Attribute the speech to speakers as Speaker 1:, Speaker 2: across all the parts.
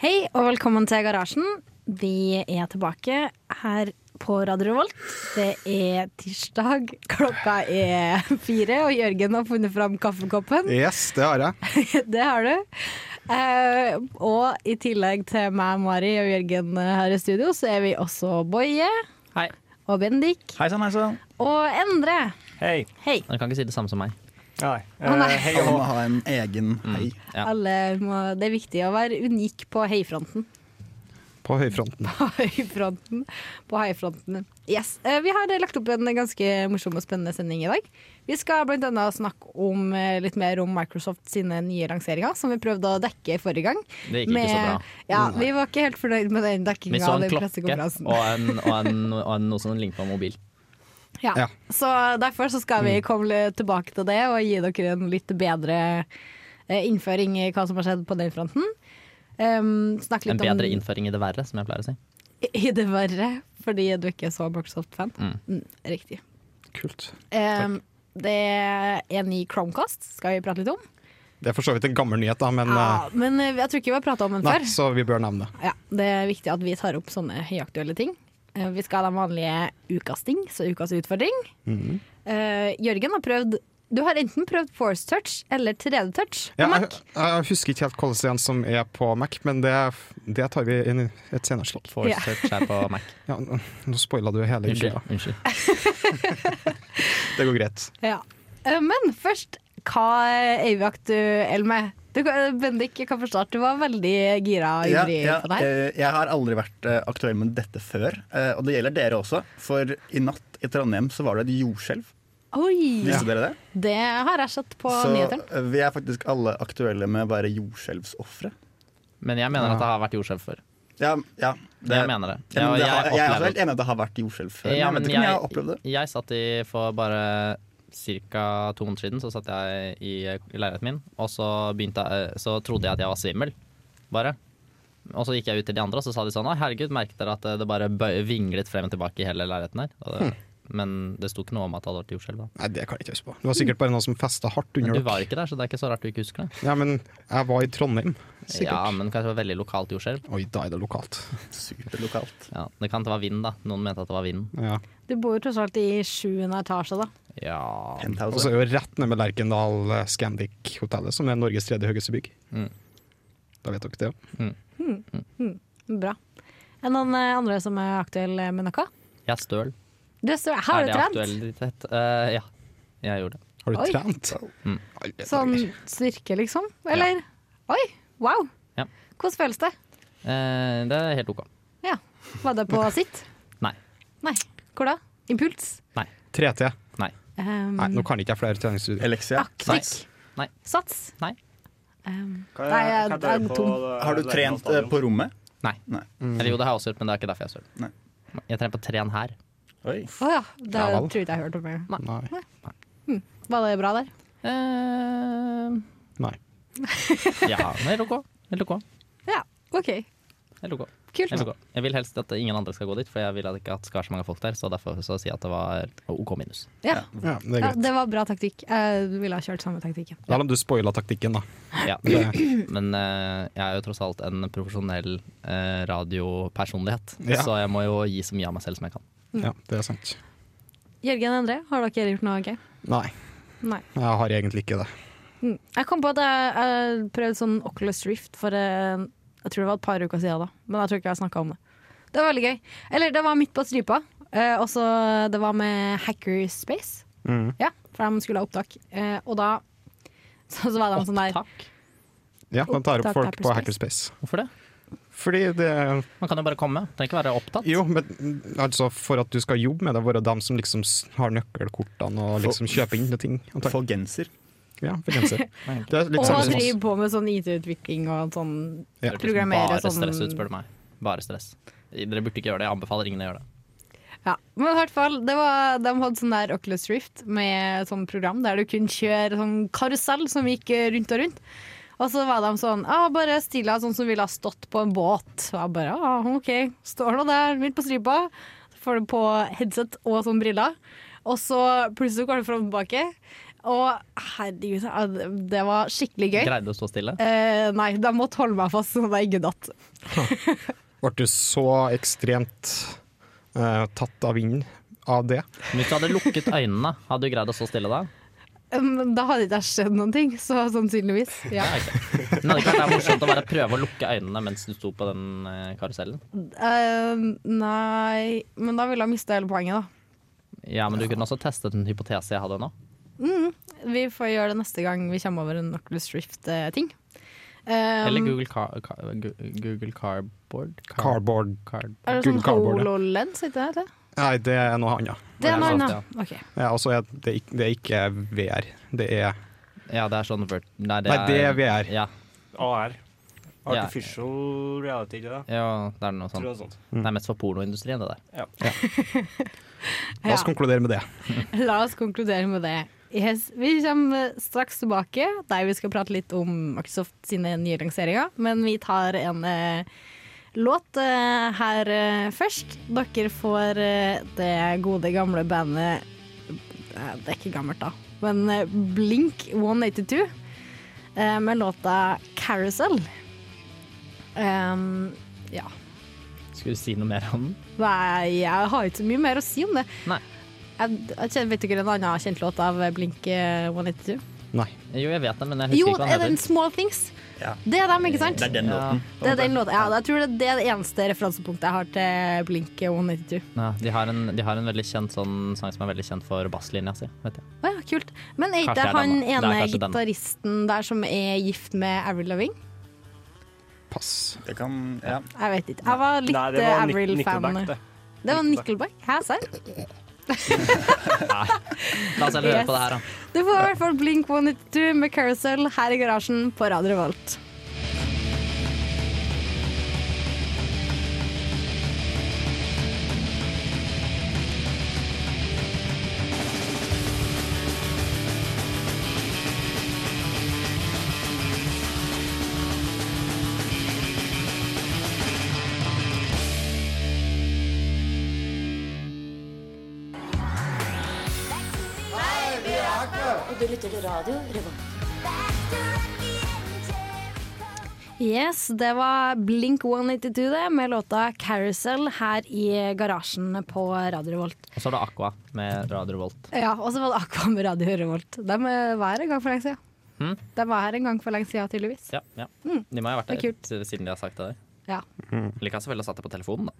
Speaker 1: Hei og velkommen til Garasjen. Vi er tilbake her på Radio Revolt. Det er tirsdag, klokka er fire, og Jørgen har funnet fram kaffekoppen.
Speaker 2: Yes, det har jeg.
Speaker 1: Det har du. Eh, og i tillegg til meg, Mari og Jørgen eh, her i studio, så er vi også Boje
Speaker 3: Hei.
Speaker 1: og Bendik
Speaker 4: Hei sann, hei sann.
Speaker 1: og Endre.
Speaker 3: Hei.
Speaker 1: Hei.
Speaker 3: Dere kan ikke si det samme som meg.
Speaker 4: Nei.
Speaker 1: Å, nei.
Speaker 4: Eh, hei
Speaker 2: Alle
Speaker 4: og
Speaker 2: må
Speaker 4: hå.
Speaker 2: ha en egen hei.
Speaker 3: Ja.
Speaker 1: Alle må, det er viktig å være unik på høyfronten.
Speaker 2: På høyfronten.
Speaker 1: På høyfronten. På høyfronten. Yes. Eh, Vi har eh, lagt opp en ganske morsom og spennende sending i dag. Vi skal bl.a. snakke om, eh, litt mer om Microsoft sine nye lanseringer, som vi prøvde å dekke forrige gang.
Speaker 3: Det gikk ikke så bra. Mm.
Speaker 1: Ja, vi var ikke helt fornøyd med den
Speaker 3: Vi
Speaker 1: dekkinga av den
Speaker 3: så en sånn klokke
Speaker 1: pressekonferansen.
Speaker 3: og, en, og, en, og en, noe som lignet på en mobil.
Speaker 1: Ja.
Speaker 2: Ja.
Speaker 1: Så derfor så skal
Speaker 3: Mm.
Speaker 1: vi komme litt tilbake til det og gi dere en litt bedre eh, innføring i hva som har skjedd på den fronten. Um, snakke
Speaker 3: En
Speaker 1: litt
Speaker 3: bedre
Speaker 1: om
Speaker 3: innføring i det verre, som jeg pleier å si.
Speaker 1: i det verre, fordi du ikke er så Microsoft-fan. Mm, riktig.
Speaker 2: Kult.
Speaker 1: Um, det er en ny Chromecast, skal vi prate litt om.
Speaker 2: Det er for så vidt en gammel nyhet, da, men
Speaker 1: Ja, men eh, jeg tror ikke vi har prata om den
Speaker 2: eh, nei,
Speaker 1: før.
Speaker 2: så vi bør nevne det.
Speaker 1: Ja, det er viktig at vi tar opp sånne høyaktuelle ting. Eh, Vi skal ha den vanlige ukas ting, så ukas utfordring.
Speaker 5: Mhm.
Speaker 1: Eh, Jørgen har prøvd Du har enten prøvd Force Touch eller 3D Touch på
Speaker 2: Ja, jeg,
Speaker 1: Mac.
Speaker 2: jeg husker ikke helt hvilken en som er på Mac, men det, det tar vi inn i et senere slott.
Speaker 3: Force
Speaker 1: Ja.
Speaker 3: touch er på Mac.
Speaker 2: Ja, nå spoila du hele
Speaker 3: Unnskyld.
Speaker 2: greia.
Speaker 3: unnskyld.
Speaker 2: Det går greit.
Speaker 1: Ja. Eh, Men først, hva er vi aktuell med? Du, kan- eh, Bendik, jeg kan forstå at du var veldig gira og
Speaker 5: Ja,
Speaker 1: ivrig
Speaker 5: ja,
Speaker 1: på det her.
Speaker 5: eh, jeg har aldri vært eh, aktuell med dette før, eh, og det gjelder dere også. For i natt i Trondheim så var det et jordskjelv.
Speaker 1: Oi!
Speaker 5: Visste dere det?
Speaker 1: Det har jeg sett på
Speaker 5: så
Speaker 1: nyhetene.
Speaker 5: eh, vi er faktisk alle aktuelle med å være jordskjelvsofre.
Speaker 3: Men jeg mener at det har vært jordskjelv før.
Speaker 5: Ja, ja, det,
Speaker 3: Jeg mener det.
Speaker 5: Ja, men
Speaker 3: Jeg-
Speaker 5: det har,
Speaker 3: jeg
Speaker 5: jeg er også
Speaker 3: opplever-
Speaker 5: helt enig i at det har vært jordskjelv før.
Speaker 3: Ja,
Speaker 5: men jeg vet
Speaker 3: men
Speaker 5: ikke om jeg har opplevd det.
Speaker 3: Jeg satt i for bare ca. to måneder siden, så satt jeg i leiligheten min, og så, begynte jeg, eh, så trodde jeg at jeg var svimmel, bare. Og så gikk jeg ut til de andre, og så sa de sånn «Å, herregud, merket dere at det bare bø- vinglet frem og tilbake i hele leiligheten her? Og
Speaker 5: Hm.
Speaker 3: det, Men det sto ikke noe om at det hadde vært jordskjelv da.
Speaker 2: Nei, det kan jeg ikke huske på. Det var sikkert bare noen som festa hardt
Speaker 3: Men
Speaker 2: under
Speaker 3: du var
Speaker 2: dere.
Speaker 3: ikke der, så det er ikke så rart du ikke husker det.
Speaker 2: Ja, men jeg var i Trondheim, sikkert.
Speaker 3: Ja, men kanskje det var veldig lokalt jordskjelv.
Speaker 2: Oi, da er det lokalt.
Speaker 5: Superlokalt.
Speaker 3: Ja, det kan ikke være vind da. Noen mente at det var vind.
Speaker 2: Ja.
Speaker 1: Du bor jo tross alt i sjuende etasje, da.
Speaker 3: Ja,
Speaker 2: Og så
Speaker 5: Penthouse.
Speaker 2: er det jo rett ned med Lerkendal eh, Scandic-hotellet, som er Norges tredje høyeste bygg.
Speaker 3: Mm.
Speaker 2: Da vet dere det. ja.
Speaker 1: Bra. Er det noen eh, andre som er aktuelle med noe?
Speaker 3: jeg er støl.
Speaker 1: Du, så, har
Speaker 3: er
Speaker 1: du
Speaker 3: det
Speaker 1: trent?
Speaker 3: aktualitet? Eh, ja, jeg gjorde det.
Speaker 2: Har du
Speaker 1: Oi.
Speaker 2: trent?
Speaker 3: Mm.
Speaker 2: Alle dager.
Speaker 1: Sånn styrke, liksom? Eller? Oi, wow!
Speaker 3: Ja.
Speaker 1: Hvordan føles det?
Speaker 3: Eh, det er helt ok.
Speaker 1: Ja. Var det på sitt?
Speaker 3: Nei.
Speaker 1: Nei. Hvor da? Impuls?
Speaker 2: 3T.
Speaker 3: Nei.
Speaker 1: Um,
Speaker 2: Nei, nå kan ikke jeg flere treningsstudier.
Speaker 5: Elixia,
Speaker 1: Aktikk?
Speaker 3: Nei.
Speaker 1: Sats?
Speaker 3: Nei.
Speaker 1: Um,
Speaker 4: Kan
Speaker 1: Nei, jeg-
Speaker 4: kan
Speaker 1: jeg er
Speaker 4: på,
Speaker 1: tom.
Speaker 4: eh,
Speaker 5: har du trent eh,
Speaker 4: Lerkendal
Speaker 5: på rommet?
Speaker 3: Nei.
Speaker 5: Nei.
Speaker 3: Eller jo, det har jeg også gjort, men det er ikke derfor jeg er
Speaker 5: Nei.
Speaker 3: støl. Jeg trener på tren her.
Speaker 5: Oi.
Speaker 1: Å ja, det
Speaker 2: Ja vel.
Speaker 1: tror jeg ikke jeg hørte om. det.
Speaker 2: Nei.
Speaker 1: Var det bra der?
Speaker 3: Eh,
Speaker 2: Nei.
Speaker 3: ja, men helt ok. Helt ok.
Speaker 1: Ja, OK.
Speaker 3: Helt ok. Helt
Speaker 1: Kult.
Speaker 3: ok. Jeg vil helst at ingen andre skal gå dit, for jeg vil at det ikke skal være så mange folk der. Så derfor så sier jeg at det var OK minus.
Speaker 1: Ja.
Speaker 2: Ja, det er
Speaker 1: ja,
Speaker 2: greit.
Speaker 1: det var bra taktikk. Jeg ville ha kjørt samme taktikken.
Speaker 2: Da la du spoila taktikken, da.
Speaker 3: Ja.
Speaker 2: Det-
Speaker 3: Men eh, jeg er jo tross alt en profesjonell eh, radiopersonlighet,
Speaker 2: Ja.
Speaker 3: så jeg må jo gi så mye av meg selv som jeg kan.
Speaker 1: Mm.
Speaker 2: Ja, det er sant.
Speaker 1: Jørgen og André, har dere gjort noe gøy?
Speaker 2: Nei,
Speaker 1: Nei.
Speaker 2: jeg har egentlig ikke det.
Speaker 1: Mm. Jeg kom på at jeg, jeg prøvde sånn Oculus Rift for eh, jeg tror det var et par uker siden da. Men jeg tror ikke jeg snakka om det. Det var veldig gøy. Eller det var midt på stripa. Eh, og så det var med Hackerspace.
Speaker 2: Mm.
Speaker 1: Ja, for de skulle ha opptak. Eh, og da så, så var de sånn der
Speaker 3: Opptak?
Speaker 2: Ja, De tar
Speaker 1: Opptak
Speaker 2: opp folk på
Speaker 1: Hackerspace.
Speaker 2: Hackerspace.
Speaker 3: Hvorfor det?
Speaker 2: Fordi det
Speaker 3: Man kan jo bare komme. Trenger ikke være opptatt.
Speaker 2: Jo, men altså, for at du skal jobbe med det, være dem som liksom s- har nøkkelkortene og liksom kjøper inn ting. antagelig.
Speaker 5: Få genser.
Speaker 2: Ja, for genser. Det er litt liksom,
Speaker 1: Og
Speaker 2: samme som oss.
Speaker 1: driver på med sånn IT-utvikling og sånn
Speaker 2: Ja.
Speaker 3: Hørtes
Speaker 1: programmere
Speaker 3: bare
Speaker 1: sånn
Speaker 3: stress ut, spør du meg. Bare stress. Dere burde ikke gjøre det. Jeg anbefaler ingen å gjøre det.
Speaker 1: Ja, men i hvert fall, det var, de hadde sånn der Oculus Rift med sånn program der du kunne kjøre sånn karusell som gikk eh, rundt og rundt. Og så var de sånn ah, Bare still deg sånn som ville ha stått på en båt. Og jeg bare ah, OK, står nå der midt på stripa. Så får du på headset og sånn briller. Og så plutselig går du fram og tilbake. Og herregud, ja, det var skikkelig gøy.
Speaker 3: Greide å stå stille.
Speaker 1: Eh, nei, de måtte holde meg fast sånn at jeg ikke datt.
Speaker 2: Ble du så ekstremt eh, tatt av vinden av det?
Speaker 3: Men Hvis du hadde lukket øynene, hadde du greid å stå stille da?
Speaker 1: Um, da hadde ikke jeg skjedd noen ting, så sannsynligvis. Ja.
Speaker 3: Men hadde ikke vært det morsomt å bare prøve å lukke øynene mens du sto på den eh, karusellen?
Speaker 1: Eh, nei, men da ville jeg mista hele poenget, da.
Speaker 3: Ja, men du kunne også testet en hypotese jeg hadde nå.
Speaker 1: Vi får gjøre det neste gang vi kommer over en Oculus Rift-ting. Um, Ehm,
Speaker 3: Eller Google, car, car, Gu- Google Cardboard? Car-
Speaker 2: Cardboard
Speaker 3: card.
Speaker 1: Er det sånn
Speaker 2: Google Cardboard, ja.
Speaker 1: HoloLens, ikke det?
Speaker 2: Nei, det er noe annet.
Speaker 1: Det
Speaker 3: Ja,
Speaker 1: er noe
Speaker 3: sant,
Speaker 1: annet. Ok.
Speaker 2: Ja, og så er det, ikk- det er ikke VR. Det er
Speaker 3: Ja, det er sånn vert... Nei,
Speaker 2: Nei, det er VR.
Speaker 3: Ja,
Speaker 4: AR.
Speaker 3: Ja.
Speaker 4: Artificial reality, ikke
Speaker 5: sånn.
Speaker 4: det?
Speaker 3: ja, det er noe
Speaker 4: Tror
Speaker 3: sånt.
Speaker 4: jeg sånn. sånt.
Speaker 3: Det er mest for pornoindustrien, det der.
Speaker 2: La oss
Speaker 1: Ja,
Speaker 2: konkludere med det.
Speaker 1: la oss konkludere med det. Yes, vi kommer straks tilbake der vi skal prate litt om Microsoft sine nye lanseringer. Men vi tar en eh, låt eh, her eh, først. Dere får eh, det gode, gamle bandet eh, Det er ikke gammelt, da. Men eh, Blink 182 eh, med låta 'Carousel'. Em, ja.
Speaker 3: Skulle du si noe mer om den?
Speaker 1: Nei, jeg har ikke så mye mer å si om det.
Speaker 3: Nei.
Speaker 1: Jeg, jeg kjenner, vet dere en annen kjent låt av Blink eh, 192?
Speaker 2: Nei.
Speaker 3: Jo, jeg vet det, men jeg husker
Speaker 1: Jo,
Speaker 3: ikke hva
Speaker 1: er
Speaker 3: den
Speaker 1: den
Speaker 3: heter.
Speaker 1: Small Things?
Speaker 5: Ja.
Speaker 1: Det er dem, ikke sant?
Speaker 5: Det er den
Speaker 3: Ja.
Speaker 5: låten.
Speaker 1: Det er den låta. Ja, jeg tror det, det er det eneste referansepunktet jeg har til Blink eh, 192.
Speaker 3: Ja, de, har en, de har en veldig kjent sånn sang som er veldig kjent for basslinja si, vet jeg.
Speaker 1: Å ja, kult. Men er
Speaker 3: Kanskje
Speaker 1: ikke
Speaker 3: det er
Speaker 1: han
Speaker 3: den, da. Det er
Speaker 1: ene
Speaker 3: kanskje den.
Speaker 1: gitaristen der som er gift med Avril Loving?
Speaker 2: Pass.
Speaker 5: Det kan, ja.
Speaker 1: Jeg vet ikke. Jeg var litt
Speaker 4: Nei, det
Speaker 1: eh,
Speaker 4: var Nic-
Speaker 1: Avril-fan.
Speaker 4: Nickelback, det.
Speaker 1: Det var Nickelback. Hæ, serr?
Speaker 3: La oss heller høre
Speaker 1: Yes.
Speaker 3: på det her, da.
Speaker 1: Du får i hvert fall Blink 192 med Carousel her i garasjen på Radio Revolt.
Speaker 6: Og du lytter til radio Revolt.
Speaker 1: Yes, det var Blink 192 det, med låta 'Carousel' her i garasjen på Radio Revolt.
Speaker 3: Og så er det Aqua med Radio Revolt.
Speaker 1: Ja, og så var det Aqua med Radio Revolt. De eh, var her en gang for lenge siden.
Speaker 3: Hmm?
Speaker 1: De var her en gang for lenge siden, tydeligvis.
Speaker 3: Ja, ja. De må jo ha vært
Speaker 1: Mm. Det er
Speaker 3: der siden de har sagt det der.
Speaker 1: Ja.
Speaker 3: Eller kan selvfølgelig ha satt det på telefonen, da.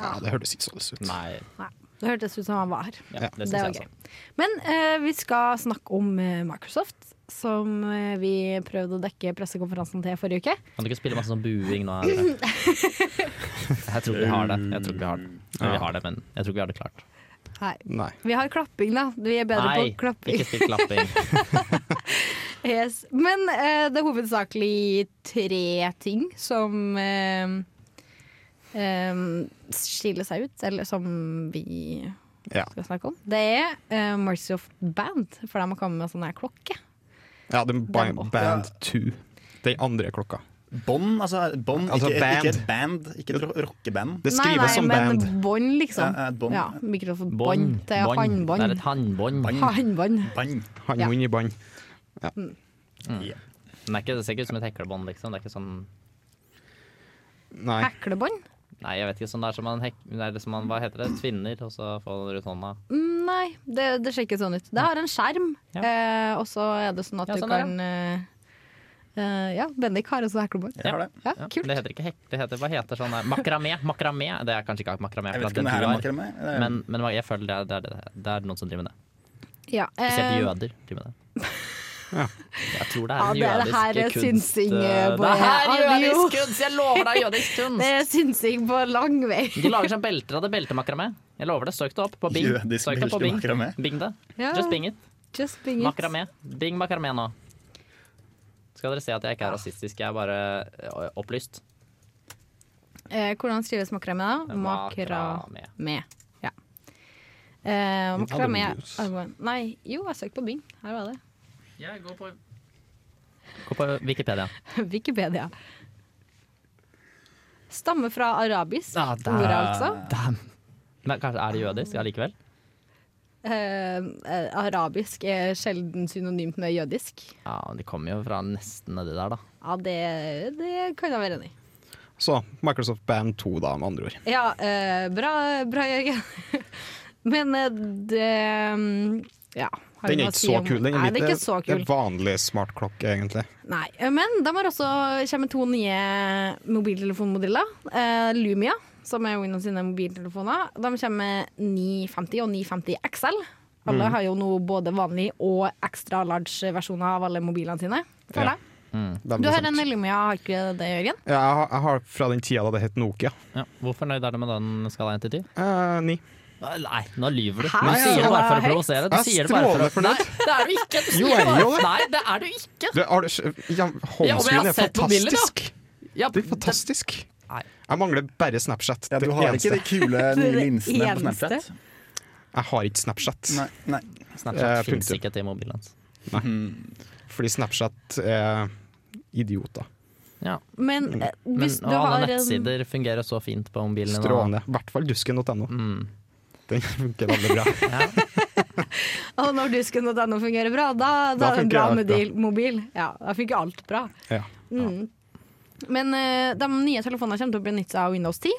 Speaker 2: Ja, det hørtes ikke sånn ut.
Speaker 3: Nei,
Speaker 1: Nei, det hørtes ut som han var her.
Speaker 3: ja, det
Speaker 1: Det
Speaker 3: syns
Speaker 1: var
Speaker 3: jeg altså.
Speaker 1: gøy.
Speaker 3: også.
Speaker 1: Men eh, vi skal snakke om eh, Microsoft, som eh, vi prøvde å dekke pressekonferansen til forrige uke.
Speaker 3: Kan du ikke spille masse sånn buing nå? Eller? Jeg tror vi har det. Jeg tror ikke vi har det. Eller, vi har det, men jeg tror ikke vi har det klart.
Speaker 1: Nei.
Speaker 2: Nei.
Speaker 1: Vi har klapping, da. Vi er bedre
Speaker 3: Nei,
Speaker 1: på klapping.
Speaker 3: ikke spill klapping.
Speaker 1: Yes. Men eh, det er hovedsakelig tre ting som eh, eh, skiller seg ut, eller som vi
Speaker 2: Ja.
Speaker 1: skal snakke om. Det er eh, Microsoft Band, for de har kommet med sånn her klokke.
Speaker 2: Ja, det er
Speaker 1: Den
Speaker 2: ba-
Speaker 1: også.
Speaker 2: Band 2. Den andre klokka.
Speaker 5: Bånd, altså, bånd
Speaker 2: Altså,
Speaker 5: ikke,
Speaker 2: band.
Speaker 5: ikke et band. Ikke et ro- rockeband.
Speaker 2: Det skrives som
Speaker 1: men
Speaker 2: band.
Speaker 1: bånd, liksom.
Speaker 5: Ja, ja, et bånd.
Speaker 1: Ja, Mikrofonbånd
Speaker 3: Bånd.
Speaker 1: til
Speaker 3: Bånd. Det er
Speaker 1: håndbånd.
Speaker 3: et håndbånd.
Speaker 5: Bånd.
Speaker 1: Håndbånd.
Speaker 5: Band.
Speaker 2: Han
Speaker 1: Ja.
Speaker 2: ja. i bånd.
Speaker 5: Ja.
Speaker 3: Den er ikke, det ser ikke ut som et heklebånd, liksom. Det er ikke sånn
Speaker 2: Nei.
Speaker 1: Heklebånd?
Speaker 3: Nei, jeg vet ikke. Sånn det er som man, hek, det er det som man Hva heter det? Tvinner, og så får man rundt hånda.
Speaker 1: Mm, Nei, det, det ser ikke sånn ut. Det har en skjerm,
Speaker 3: Ja.
Speaker 1: eh, og så er det sånn at
Speaker 3: Ja,
Speaker 1: du
Speaker 3: sånn er det.
Speaker 1: kan eh, eh, Ja, Bendik har også heklebånd.
Speaker 5: Jeg har det.
Speaker 1: Ja,
Speaker 3: Ja,
Speaker 1: kult.
Speaker 3: Det heter ikke hekk, det heter hva heter sånn der Makramé. Makramé. Det er kanskje ikke makramé,
Speaker 5: Jeg
Speaker 3: for
Speaker 5: vet
Speaker 3: at
Speaker 5: ikke om
Speaker 3: det
Speaker 5: det her er
Speaker 3: du
Speaker 5: eh,
Speaker 3: har.
Speaker 5: makrame. Det er-
Speaker 3: Men, men jeg føler det er, det, er, det, er, det er noen som driver med det.
Speaker 1: Ja,
Speaker 3: Spesielt
Speaker 1: eh,
Speaker 3: jøder driver med det.
Speaker 2: Ja.
Speaker 3: Jeg tror det
Speaker 1: Ja,
Speaker 3: er en
Speaker 1: det er det her
Speaker 3: jødisk kunst.
Speaker 1: synsing,
Speaker 3: eh,
Speaker 1: Bård.
Speaker 3: det her er
Speaker 1: Alle jo.
Speaker 3: jødisk kunst! Jeg lover deg jødisk
Speaker 1: Det
Speaker 3: kunst!
Speaker 1: er synsing på lang vei.
Speaker 3: De lager seg belter av det beltemakramé. Jeg lover det. Søk det opp på Bing.
Speaker 5: Jødisk
Speaker 3: Søk det opp på
Speaker 5: belter
Speaker 3: Bing.
Speaker 5: makramé.
Speaker 3: Bing det.
Speaker 1: Ja.
Speaker 3: Just bing it.
Speaker 1: Just being it.
Speaker 3: Makramé. Bing makramé nå. Skal dere se at jeg ikke er rasistisk, jeg er bare eh, opplyst.
Speaker 1: Eh, hvordan skrives makramé, da?
Speaker 3: Makramé.
Speaker 1: Makramé. Ja. Eh, makramé
Speaker 2: Aldri mus.
Speaker 1: argon- Nei, jo, jeg søkte på Bing. Her var det.
Speaker 3: Jeg går på Gå på Wikipedia.
Speaker 1: Wikipedia. Stammer fra arabisk,
Speaker 3: Ah, der.
Speaker 1: ordet altså.
Speaker 3: Damn. Men kanskje er det jødisk allikevel?
Speaker 1: eh, eh, arabisk er sjelden synonymt med jødisk.
Speaker 3: Ja, De kommer jo fra nesten nedi der, da.
Speaker 1: Ja, det, det kan jeg være enig i.
Speaker 2: Så Microsoft Band 2, da, med andre ord.
Speaker 1: Ja, eh, bra, bra Jørgen. Men eh, det mm, Ja. har
Speaker 2: Den
Speaker 1: vi noe å
Speaker 2: er ikke
Speaker 1: si
Speaker 2: så
Speaker 1: om-
Speaker 2: kul. Den
Speaker 1: Nei, det er ikke så
Speaker 2: det
Speaker 1: kul.
Speaker 2: er vanlig smartklokke, egentlig.
Speaker 1: Nei, eh, men de har også kommer to nye mobiltelefonmodeller. Eh, Lumia, som er Windows sine mobiltelefoner. De kommer med 950 og 950 XL.
Speaker 2: Mm.
Speaker 1: Alle har jo nå både vanlig og ekstra large versjoner av alle mobilene sine.
Speaker 2: Ja,
Speaker 1: føler jeg.
Speaker 2: Veldig
Speaker 1: Du har
Speaker 2: sant.
Speaker 1: en Lumia, har ikke det, Jørgen?
Speaker 2: Ja, jeg, har, jeg har fra den tida da det het Nokia.
Speaker 3: Ja. Hvor fornøyd er du med den skala 1 til 10?
Speaker 2: Eh, ni.
Speaker 3: Nei, nå lyver du.
Speaker 1: Hæ?
Speaker 3: Du sier det bare for å
Speaker 1: Nei.
Speaker 3: provosere. Du
Speaker 2: Jeg er
Speaker 3: sier det bare
Speaker 2: strålende
Speaker 3: for å Nei, det er du ikke! Du
Speaker 2: Jo,
Speaker 3: sier det
Speaker 2: jeg er
Speaker 3: bare.
Speaker 2: jo det.
Speaker 3: Nei, det er du ikke!
Speaker 2: Du, har du, ja,
Speaker 3: Ja, men jeg
Speaker 2: Homescreen
Speaker 3: har
Speaker 2: er
Speaker 3: sett på bilder, da.
Speaker 2: fantastisk.
Speaker 3: Ja,
Speaker 2: Det er fantastisk.
Speaker 3: Nei.
Speaker 2: Jeg mangler bare Snapchat.
Speaker 5: Ja, du
Speaker 2: det
Speaker 5: har
Speaker 2: eneste.
Speaker 5: ikke de kule nye
Speaker 1: Det
Speaker 5: linsene på
Speaker 1: eneste.
Speaker 5: Snapchat?
Speaker 2: Jeg har ikke Snapchat,
Speaker 5: Nei, nei.
Speaker 2: Eh,
Speaker 3: Snapchat fins
Speaker 2: punktum.
Speaker 3: ikke til mobilen hans.
Speaker 2: fordi Snapchat er idioter.
Speaker 3: Ja.
Speaker 1: Men
Speaker 2: Mm.
Speaker 1: eh,
Speaker 3: Men
Speaker 1: hvis
Speaker 3: og
Speaker 1: du
Speaker 3: alle
Speaker 1: har en
Speaker 3: nettsider fungerer så fint på mobilen. din, da.
Speaker 2: Strålende. I hvert fall dusken.no.
Speaker 3: Mm.
Speaker 2: Den funker veldig bra.
Speaker 1: Å, når dusken.no fungerer bra, da, da,
Speaker 2: Da
Speaker 1: er det en
Speaker 2: funker
Speaker 1: bra
Speaker 2: alt bra.
Speaker 1: mobil. mobil. Ja, da funker alt bra.
Speaker 2: Ja.
Speaker 1: Mm. Men eh, de nye telefonene kommer til å benytte seg av Windows 10.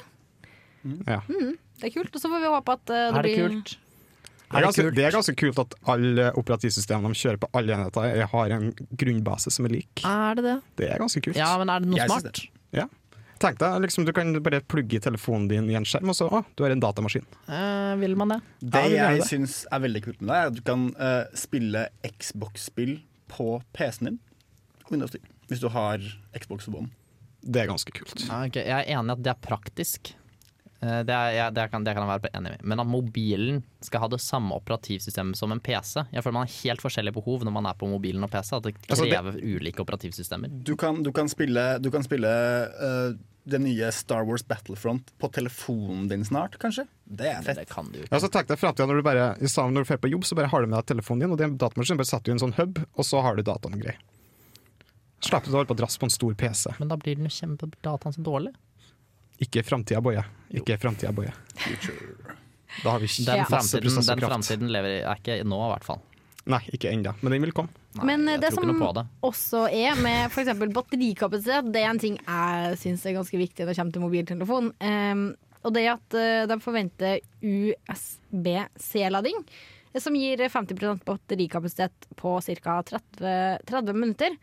Speaker 2: Ja.
Speaker 5: Hmm.
Speaker 1: Det er kult. Og så får vi håpe at eh, det,
Speaker 3: Er det
Speaker 1: blir
Speaker 3: kult?
Speaker 2: Det, er ganske, det er ganske kult at alle operativsystemene de kjører på alle enheter, er- har en grunnbase som er lik.
Speaker 3: Er det det?
Speaker 2: Det er ganske kult.
Speaker 3: Ah. Ja, men er det noe
Speaker 5: Jeg synes
Speaker 3: smart?
Speaker 2: Ja. Tenk deg, liksom, Du kan bare plugge telefonen din i en skjerm, og så å, du har en datamaskin.
Speaker 3: Eh, vil man det?
Speaker 2: Ja,
Speaker 5: Det
Speaker 2: det er
Speaker 5: jeg
Speaker 2: det.
Speaker 5: syns er veldig kult med det, er at du kan eh, spille Xbox-spill på PC-en din. Windows 10. Hvis du har Xbox på bånd.
Speaker 2: Det er ganske kult.
Speaker 3: Ja, Ah, ok, Jeg er enig i at det er praktisk. Eh, Det, er, jeg, det, kan, det kan jeg være enig i. Men at mobilen skal ha det samme operativsystemet som en PC Jeg føler Man har helt forskjellige behov når man er på mobilen og PC. At det
Speaker 2: Altså, det-
Speaker 3: krever ulike operativsystemer.
Speaker 5: Du kan, du kan spille, du kan spille eh, det nye Star Wars Battlefront på telefonen din snart, kanskje? Det er fett.
Speaker 3: Det kan du jo
Speaker 2: Ja, så tenk deg fremtiden når du bare, i stedet når du drar på jobb, så bare har du med deg telefonen din, og det er en datamaskin, bare setter du i en sånn hub, og så har du dataen og greier. Slipper du å holde på å drasse på en stor PC.
Speaker 3: Men da blir den jo kjempedataen så dårlig.
Speaker 2: Ikke framtida, Boje. Ikke framtida, Boje. Da har vi ikke
Speaker 3: Den
Speaker 1: Ja.
Speaker 2: masse
Speaker 3: fremtiden, den
Speaker 2: prosessorkraft.
Speaker 3: fremtiden lever i, er ikke nå, i hvert fall.
Speaker 2: Nei, ikke ennå, men den vil komme.
Speaker 3: Nei,
Speaker 1: Men eh,
Speaker 3: jeg
Speaker 1: det
Speaker 3: tror
Speaker 1: som
Speaker 3: ikke noe på det.
Speaker 1: også er med f.eks. batterikapasitet, det er en ting jeg syns er ganske viktig når det kommer til mobiltelefon. Ehm, og det er at eh, de forventer USB-C-lading, eh, som gir 50 batterikapasitet på ca. 30, 30 minutter.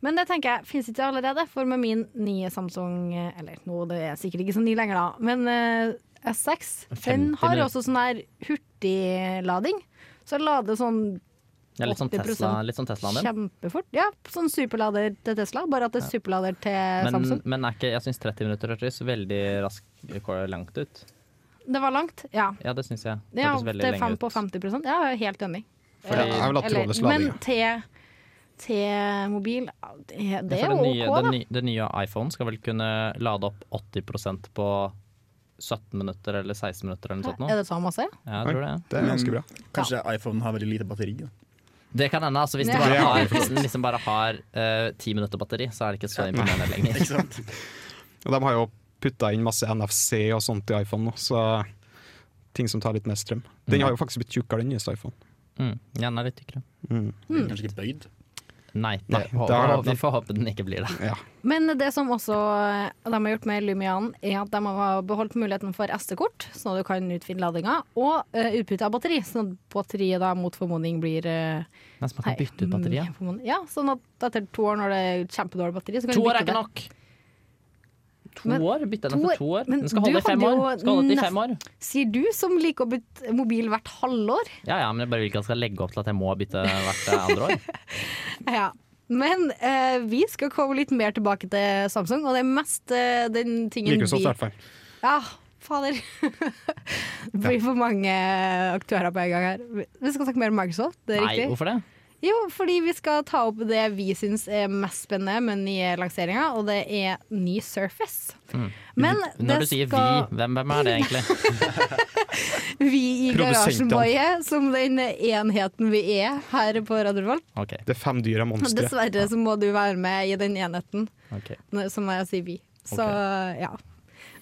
Speaker 1: Men det tenker jeg finnes ikke allerede, for med min nye Samsung eh, Eller nå, det er sikkert ikke så ny lenger, da. Men eh, S6 den
Speaker 3: 50
Speaker 1: har
Speaker 3: minutter.
Speaker 1: også sånn her hurtiglading. Så jeg lader sånn
Speaker 3: Det er litt sånn
Speaker 1: 80%
Speaker 3: Tesla, litt sånn Teslaen din.
Speaker 1: Kjempefort. Ja, sånn superlader til Tesla, bare at det er superlader til
Speaker 3: Men,
Speaker 1: Samsung.
Speaker 3: men er ikke, jeg syns 30 minutter hørtes veldig raskt langt ut.
Speaker 1: Det var langt, ja.
Speaker 3: Ja, det syns jeg. Det
Speaker 1: ja
Speaker 3: hørtes veldig
Speaker 1: til
Speaker 3: lenge
Speaker 1: 5 på
Speaker 3: ut.
Speaker 1: 50 Ja, jeg er helt enig.
Speaker 3: Fordi-
Speaker 2: Ja, jeg vil ha
Speaker 1: Eller-
Speaker 2: trådløs lading.
Speaker 1: Men til, til mobil ja, Det, det
Speaker 3: Ja,
Speaker 1: er
Speaker 3: for
Speaker 1: jo
Speaker 3: den nye,
Speaker 1: OK,
Speaker 3: den
Speaker 1: da.
Speaker 3: nye, den nye iPhone skal vel kunne lade opp 80 på 17 minutter eller 16 minutter eller noe sånt. nå.
Speaker 1: Er det så masse?
Speaker 3: Ja, jeg tror det.
Speaker 2: Det er ganske bra.
Speaker 5: Kanskje iPhone har veldig lite batteri. Da.
Speaker 3: Det kan hende. altså Hvis
Speaker 1: Ja.
Speaker 3: du bare
Speaker 2: Ja.
Speaker 3: har, hvis den liksom bare har eh, 10 minutter batteri, så er det ikke så imponerende lenger.
Speaker 5: Ikke sant?
Speaker 2: Og de har jo putta inn masse NFC og sånt i iPhone nå, så ting som tar litt mer strøm. Den har jo faktisk blitt tjukkere, den nyeste iPhone.
Speaker 3: Mm, ja, den er litt tykkere.
Speaker 1: Hmm.
Speaker 5: Kanskje ikke bøyd.
Speaker 3: Nei, det,
Speaker 2: Nei,
Speaker 3: håper-
Speaker 2: da-
Speaker 3: vi får håpe den ikke blir det.
Speaker 2: Ja.
Speaker 1: Men det som også eh, de har gjort med Lumian, er at de har beholdt muligheten for SD-kort, sånn at du kan utvide ladinga, og uh, utbytte av batteri, sånn at batteriet da mot formodning blir eh,
Speaker 3: Men så man kan bytte ut batteriet.
Speaker 1: mye på måneden. Ja, sånn at etter to år når det er kjempedårlig batteri, så kan
Speaker 3: To
Speaker 1: du
Speaker 3: år
Speaker 1: bytte
Speaker 3: er ikke
Speaker 1: det.
Speaker 3: nok! To
Speaker 1: Men-
Speaker 3: år? Bytte den
Speaker 1: to
Speaker 3: for
Speaker 1: år-
Speaker 3: to år?
Speaker 1: men
Speaker 3: Den skal
Speaker 1: du
Speaker 3: holde i fem
Speaker 1: hadde
Speaker 3: år.
Speaker 1: jo
Speaker 3: Skal holde til i
Speaker 1: nest-
Speaker 3: fem år.
Speaker 1: Sier du som liker å bytte mobil hvert halvår.
Speaker 3: Ja, ja, men jeg bare vil ikke at jeg skal legge opp til at jeg må bytte hvert eh, andre år.
Speaker 1: Ja. Men eh, vi skal komme litt mer tilbake til Samsung, og det er mest eh, den tingen
Speaker 2: Microsoft, i
Speaker 1: vi
Speaker 2: hvert fall.
Speaker 1: Ja, fader. det blir for mange aktører på en gang her. Vi skal snakke mer om Microsoft, det er
Speaker 3: Nei,
Speaker 1: riktig.
Speaker 3: hvorfor det?
Speaker 1: Jo, fordi vi skal ta opp det vi syns er mest spennende med den nye lanseringa, og det er ny Surface. Men
Speaker 3: Mm. Når du sier
Speaker 1: skal-
Speaker 3: vi, hvem, hvem er det egentlig?
Speaker 1: Vi i
Speaker 2: Produsentene.
Speaker 1: Garasjenboye, som den enheten vi er her på Radio Revolt.
Speaker 3: Ok,
Speaker 2: Det er fem dyr av monstre.
Speaker 1: Dessverre så må du være med i den enheten,
Speaker 3: ok.
Speaker 1: når- som jeg sier vi. Så ja.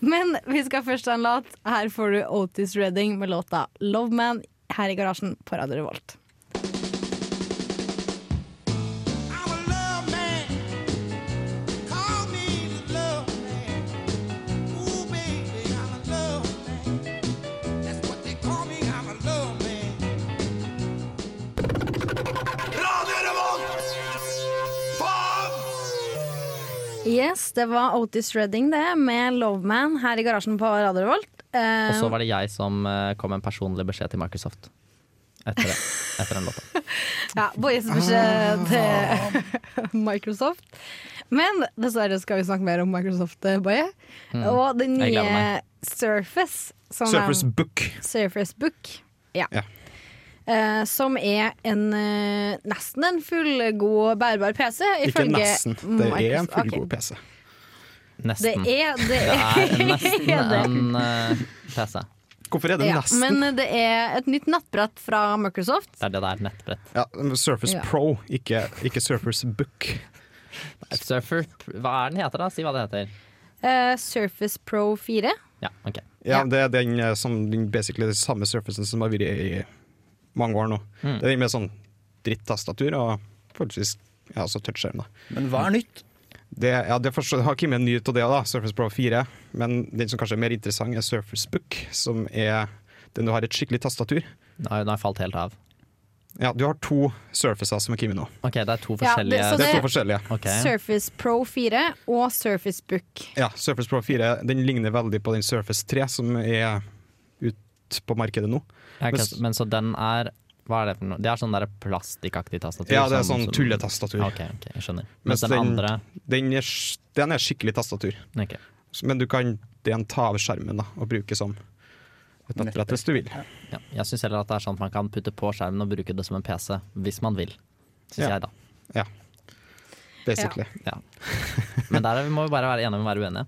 Speaker 1: Men vi skal først ha en låt. Her får du Otis Redding med låta 'Love Man her i garasjen på Radio Revolt.
Speaker 6: I'm a love man. Call me the love man. Ooh, baby, I'm a love man. That's what they call me. I'm a love man.
Speaker 1: Yes, det var Otis Redding det, med Love Man her i garasjen på Radio Revolt. Eh,
Speaker 3: Og så var det jeg som eh, kom med en personlig beskjed til Microsoft etter, det, etter den låta.
Speaker 1: Ja, Bojes
Speaker 3: Ah.
Speaker 1: beskjed til Microsoft. Men dessverre skal vi snakke mer om Microsoft, eh, Boje. Og den
Speaker 3: Hmm. Jeg
Speaker 1: nye
Speaker 3: gleder meg.
Speaker 1: Surface. Som
Speaker 2: Surface
Speaker 1: er,
Speaker 2: Book.
Speaker 1: Surface Book. Ja.
Speaker 2: Ja.
Speaker 1: Eh, som er en eh, nesten en fullgod bærbar PC,
Speaker 2: Ikke
Speaker 1: ifølge
Speaker 2: nesten. Det er en
Speaker 1: Microsoft. Ok.
Speaker 2: fullgod PC.
Speaker 1: Det
Speaker 3: Nesten.
Speaker 1: er det.
Speaker 3: Det
Speaker 1: Er,
Speaker 3: er nesten
Speaker 1: det.
Speaker 3: en eh, PC.
Speaker 2: Hvorfor er det
Speaker 1: ja,
Speaker 2: nesten?
Speaker 1: men det er et nytt nattbrett fra Microsoft.
Speaker 3: Det er det der nettbrett.
Speaker 2: Ja, Surface
Speaker 1: Ja.
Speaker 2: Pro, ikke, ikke Surface Book.
Speaker 3: Surfer, hva er den heter da? Si hva det heter.
Speaker 1: Eh, Surface Pro 4.
Speaker 3: Ja, ok.
Speaker 2: Ja,
Speaker 1: Ja.
Speaker 2: Det er den eh, som den basically samme surfacen som har vært i mange år nå.
Speaker 1: Mm.
Speaker 2: Det er den med sånn drittastatur og forholdsvis ja, så touchskjerm. da.
Speaker 5: Men hva er nytt?
Speaker 2: Det, ja, det forstår, har kommet en ny ut av det, da, Surface Pro 4. Men den som kanskje er mer interessant, er Surface Book, som er den du har et skikkelig tastatur.
Speaker 3: Nå har nå har jeg falt helt av.
Speaker 2: Ja, Du har to Surfacer som er kommet nå.
Speaker 3: Ok, det er to
Speaker 1: Ja, det-
Speaker 3: forskjellige
Speaker 1: så
Speaker 2: Det er
Speaker 1: det-
Speaker 2: to forskjellige.
Speaker 3: Ok.
Speaker 1: Surface Pro 4 og Surface Book.
Speaker 2: Ja, Surface Pro 4 den ligner veldig på den Surface 3 som er ute på markedet nå.
Speaker 3: Ja, ok,
Speaker 2: Hvis-
Speaker 3: så- Men så den er Hva er det for noe? Det er sånn der plastikkaktig tastatur?
Speaker 2: Ja, det er
Speaker 3: som-
Speaker 2: sånn
Speaker 3: som-
Speaker 2: tulletastatur.
Speaker 3: Ok, ok, jeg skjønner.
Speaker 2: Mens
Speaker 3: Mens den
Speaker 2: den-
Speaker 3: andre
Speaker 2: Den er, sk- den er skikkelig tastatur,
Speaker 3: ok.
Speaker 2: men du kan den ta av skjermen da, og bruke som et nettbrett hvis du vil.
Speaker 3: ja. Jeg syns heller at det er sånn at man kan putte på skjermen og bruke det som en PC, hvis man vil. Syns
Speaker 2: Ja.
Speaker 3: jeg, da.
Speaker 2: Ja, basically.
Speaker 3: Ja. Men der er vi- må vi bare være enige om å være uenige.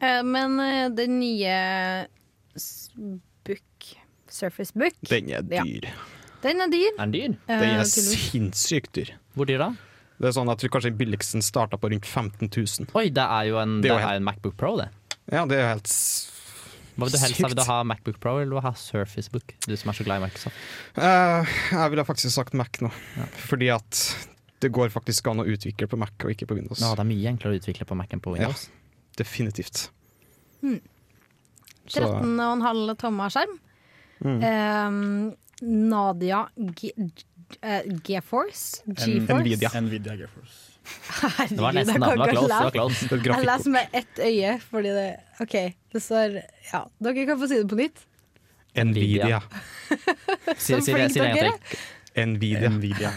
Speaker 1: Eh, men eh, den nye s- Book Surface Book,
Speaker 2: Den er
Speaker 1: Ja.
Speaker 2: dyr.
Speaker 1: den er dyr.
Speaker 3: Er den dyr?
Speaker 2: Den
Speaker 1: eh,
Speaker 2: er
Speaker 1: tydeligvis.
Speaker 2: sinnssykt dyr.
Speaker 3: Hvor dyr da?
Speaker 2: Det er sånn at jeg tror kanskje den billigsten starta på rundt 15 000.
Speaker 3: Oi, det er jo en,
Speaker 2: Det
Speaker 3: det
Speaker 2: er jo
Speaker 3: er
Speaker 2: helt-
Speaker 3: en Macbook Pro, det.
Speaker 2: Ja, det er jo helt s-
Speaker 3: Hva vil du helst ha? Vil du
Speaker 2: Sykt.
Speaker 3: ha Macbook Pro eller vil du ha Surface Book? Du som er så glad i Microsoft.
Speaker 2: Eh, Jeg ville faktisk sagt Mac nå, fordi at det går faktisk an å utvikle på Mac og ikke på Windows.
Speaker 3: Nå, det er mye enklere å utvikle på Mac enn på Windows.
Speaker 2: Definitivt.
Speaker 1: Hmm.
Speaker 2: Så- Mm.
Speaker 1: 13,5 tommer skjerm. Eh, Nadia G eh, GeForce? GeForce?
Speaker 2: Nvidia.
Speaker 5: Nvidia GeForce.
Speaker 1: Herregud,
Speaker 3: Det var
Speaker 1: jeg
Speaker 3: nesten da.
Speaker 1: kan
Speaker 3: Det var
Speaker 1: ikke
Speaker 3: close. Det var
Speaker 1: lese.
Speaker 3: close.
Speaker 2: Det er et
Speaker 1: Jeg
Speaker 2: grafikkort.
Speaker 1: leser med ett øye, fordi det OK, det står Ja, dere kan få si det på nytt.
Speaker 2: Nvidia.
Speaker 3: Si, si,
Speaker 1: Så
Speaker 3: si,
Speaker 1: flink
Speaker 3: det- si det en
Speaker 1: dere
Speaker 3: gang
Speaker 1: er.
Speaker 3: til.
Speaker 2: Nvidia.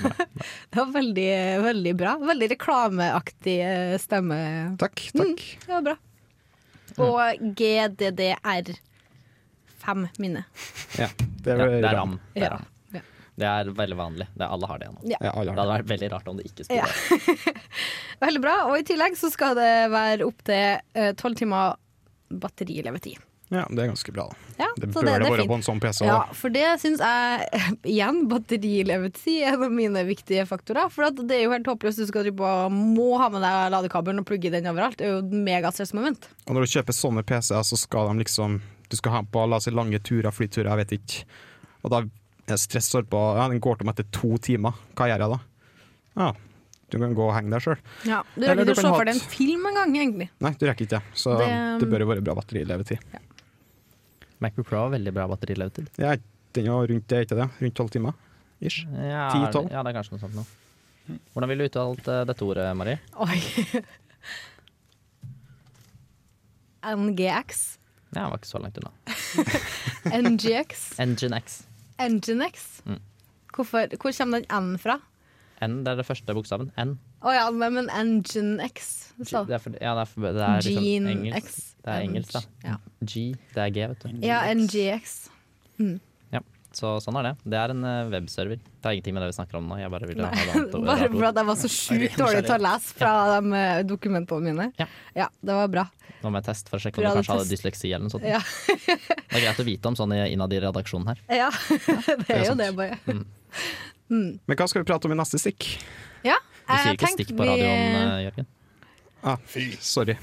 Speaker 1: Det var veldig, veldig bra. Veldig reklameaktig eh, stemme.
Speaker 2: Takk,
Speaker 1: Hmm.
Speaker 2: takk.
Speaker 1: Det var bra. Og GDDR5 minne.
Speaker 2: Ja, det er,
Speaker 3: Ja, det er
Speaker 2: ram.
Speaker 3: ram. Det er, ram. Det er veldig vanlig. Det er, alle har det nå.
Speaker 1: Ja.
Speaker 2: Ja, alle
Speaker 3: Det
Speaker 2: har
Speaker 3: hadde
Speaker 2: det.
Speaker 3: vært veldig rart om det ikke skulle
Speaker 1: Ja.
Speaker 3: være
Speaker 1: Veldig bra. Og i tillegg så skal det være opptil tolv timer batterilevetid.
Speaker 2: Ja, det er ganske bra. da.
Speaker 1: Ja,
Speaker 2: Det
Speaker 1: så
Speaker 2: bør det,
Speaker 1: er
Speaker 2: være
Speaker 1: fint.
Speaker 2: på en sånn PC.
Speaker 1: Ja,
Speaker 2: også.
Speaker 1: for det syns jeg Igjen, batterilevetid er en av mine viktige faktorer. For at det er jo helt håpløst. Du skal drive på, må ha med deg ladekabelen og plugge den overalt. Det er jo megastressmoment.
Speaker 2: Og når du kjøper sånne PC-er, så skal de liksom Du skal ha den på la oss si lange turer, flyturer, jeg vet ikke. Og da er stress står på Ja, den går tom etter to timer. Hva gjør jeg da? Ja, du kan gå og henge deg sjøl.
Speaker 1: Ja, du
Speaker 2: Eller
Speaker 1: rekker
Speaker 2: du
Speaker 1: ikke å
Speaker 2: kan
Speaker 1: se
Speaker 2: ha
Speaker 1: for
Speaker 2: et-
Speaker 1: deg en film engang, egentlig.
Speaker 2: Nei, du rekker ikke det. Så det,
Speaker 1: Det- um,
Speaker 2: bør jo være bra batterilevetid.
Speaker 3: MacBook Pro har veldig bra batterilevetid.
Speaker 2: Ja, den er jo rundt det, er ikke det? Rundt tolv timer? Ish.
Speaker 3: Ja,
Speaker 2: 10-12?
Speaker 3: ja, det er kanskje noe sånt nå. Hvordan ville du uttalt eh, dette ordet, Mari?
Speaker 1: Oi. NGX,
Speaker 3: Ja, jeg var ikke så langt unna.
Speaker 1: NGX,
Speaker 3: Engine X.
Speaker 1: Enginex.
Speaker 3: Mm.
Speaker 1: Hvorfor, hvor kommer den N fra?
Speaker 3: N, det er det første bokstaven. N.
Speaker 1: Å ja, nei, men Enginex. det står.
Speaker 3: Det er, for, ja, det er, for, det er liksom
Speaker 1: Gene
Speaker 3: engelsk.
Speaker 1: X.
Speaker 3: Det er engelsk, da.
Speaker 1: Ja.
Speaker 3: G, det er G, vet du.
Speaker 1: Ja, NGX.
Speaker 3: Ja, så sånn er det. Det er en eh, webserver. Det har ingenting med det vi snakker om nå. Jeg bare ville ha et annet ord-
Speaker 1: Bare
Speaker 3: rart ord.
Speaker 1: for at jeg var så sjukt dårlig til å lese fra de eh, dokumentene mine.
Speaker 3: Ja.
Speaker 1: ja, det var bra.
Speaker 3: Nå må jeg teste for å sjekke om
Speaker 1: Bra,
Speaker 3: du
Speaker 1: du
Speaker 3: kanskje hadde
Speaker 1: test.
Speaker 3: dysleksi eller noe sånt.
Speaker 1: Ja.
Speaker 3: Det er greit å vite om sånn i- innad i redaksjonen her.
Speaker 1: Ja, det er jo
Speaker 2: sant.
Speaker 1: det, bare.
Speaker 3: Mm.
Speaker 2: Men hva skal vi prate om i neste stikk?
Speaker 1: Ja,
Speaker 3: Du sier
Speaker 1: jeg
Speaker 3: ikke
Speaker 1: tenkte
Speaker 3: stikk på
Speaker 1: Eh, vi-
Speaker 3: radioen, eh, Jørgen.
Speaker 2: Ah, sorry.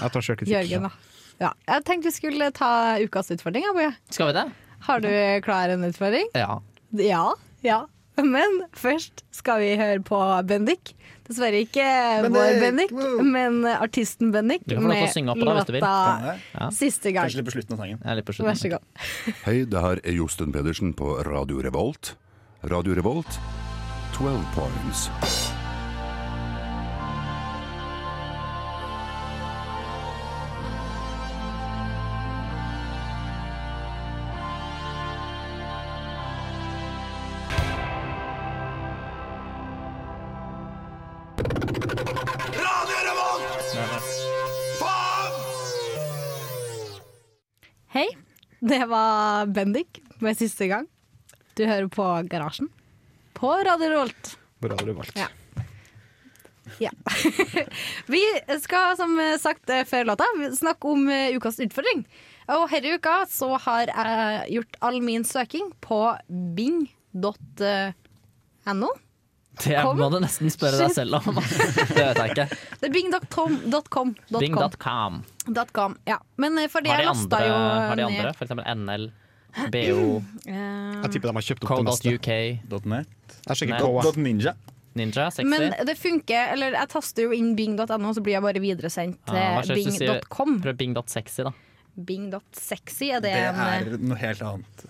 Speaker 2: Jeg tar sjølkritikk.
Speaker 1: Jørgen, da. Ja, jeg tenkte vi skulle ta ukas utfordring, jeg, Boje.
Speaker 3: Skal vi det?
Speaker 1: Har du klar en utfordring?
Speaker 3: Ja.
Speaker 1: Ja. ja. Men først skal vi høre på Bendik. Dessverre ikke vår
Speaker 5: Bendik,
Speaker 1: Bendik,
Speaker 5: woo!
Speaker 1: men artisten Bendik
Speaker 3: Du får lov til å synge opp på det hvis du vil.
Speaker 1: låta
Speaker 3: Ja.
Speaker 1: Siste gang.
Speaker 5: Kanskje litt på slutten av sangen.
Speaker 3: Jeg er litt på slutten.
Speaker 1: Vær så god.
Speaker 7: Hei, det her er Josten Pedersen på Radio Revolt. Radio Revolt, 12 points.
Speaker 1: Hei, det var Bendik med siste gang. Du hører på Garasjen på Radio Rolt.
Speaker 2: Hvor hadde du valgt?
Speaker 1: Ja. Ja. vi skal som sagt eh, før låta snakke om eh, ukas utfordring. Og herre uka så har jeg gjort all min søking på eh, bing.no.
Speaker 3: Det
Speaker 1: Kom.
Speaker 3: må du nesten spørre deg
Speaker 1: Shit.
Speaker 3: selv om. Det vet jeg ikke.
Speaker 1: Det er bing.com. .com.
Speaker 3: Bing.com.
Speaker 1: Dot com, Ja. Men eh, fordi jeg
Speaker 3: Har de andre,
Speaker 1: lasta jo
Speaker 3: har de
Speaker 1: ned
Speaker 3: andre? For eksempel NL, BO,
Speaker 1: eh,
Speaker 2: Jeg tipper de har kjøpt opp det meste.
Speaker 3: Co.uk,
Speaker 5: .net.
Speaker 2: Jeg sjekker
Speaker 3: Nei.
Speaker 2: K, jeg.
Speaker 5: Dot Ninja.
Speaker 3: Ninja,
Speaker 1: Men
Speaker 3: 60.
Speaker 1: det funker, eller jeg taster jo inn bing.no, så blir jeg bare videresendt eh, til
Speaker 3: Ja, hva slags du sier-
Speaker 1: bing.com.
Speaker 3: Prøv Bing.sexy, da.
Speaker 1: Bing.sexy, er det,
Speaker 5: Det
Speaker 1: en eh,
Speaker 5: er noe helt annet.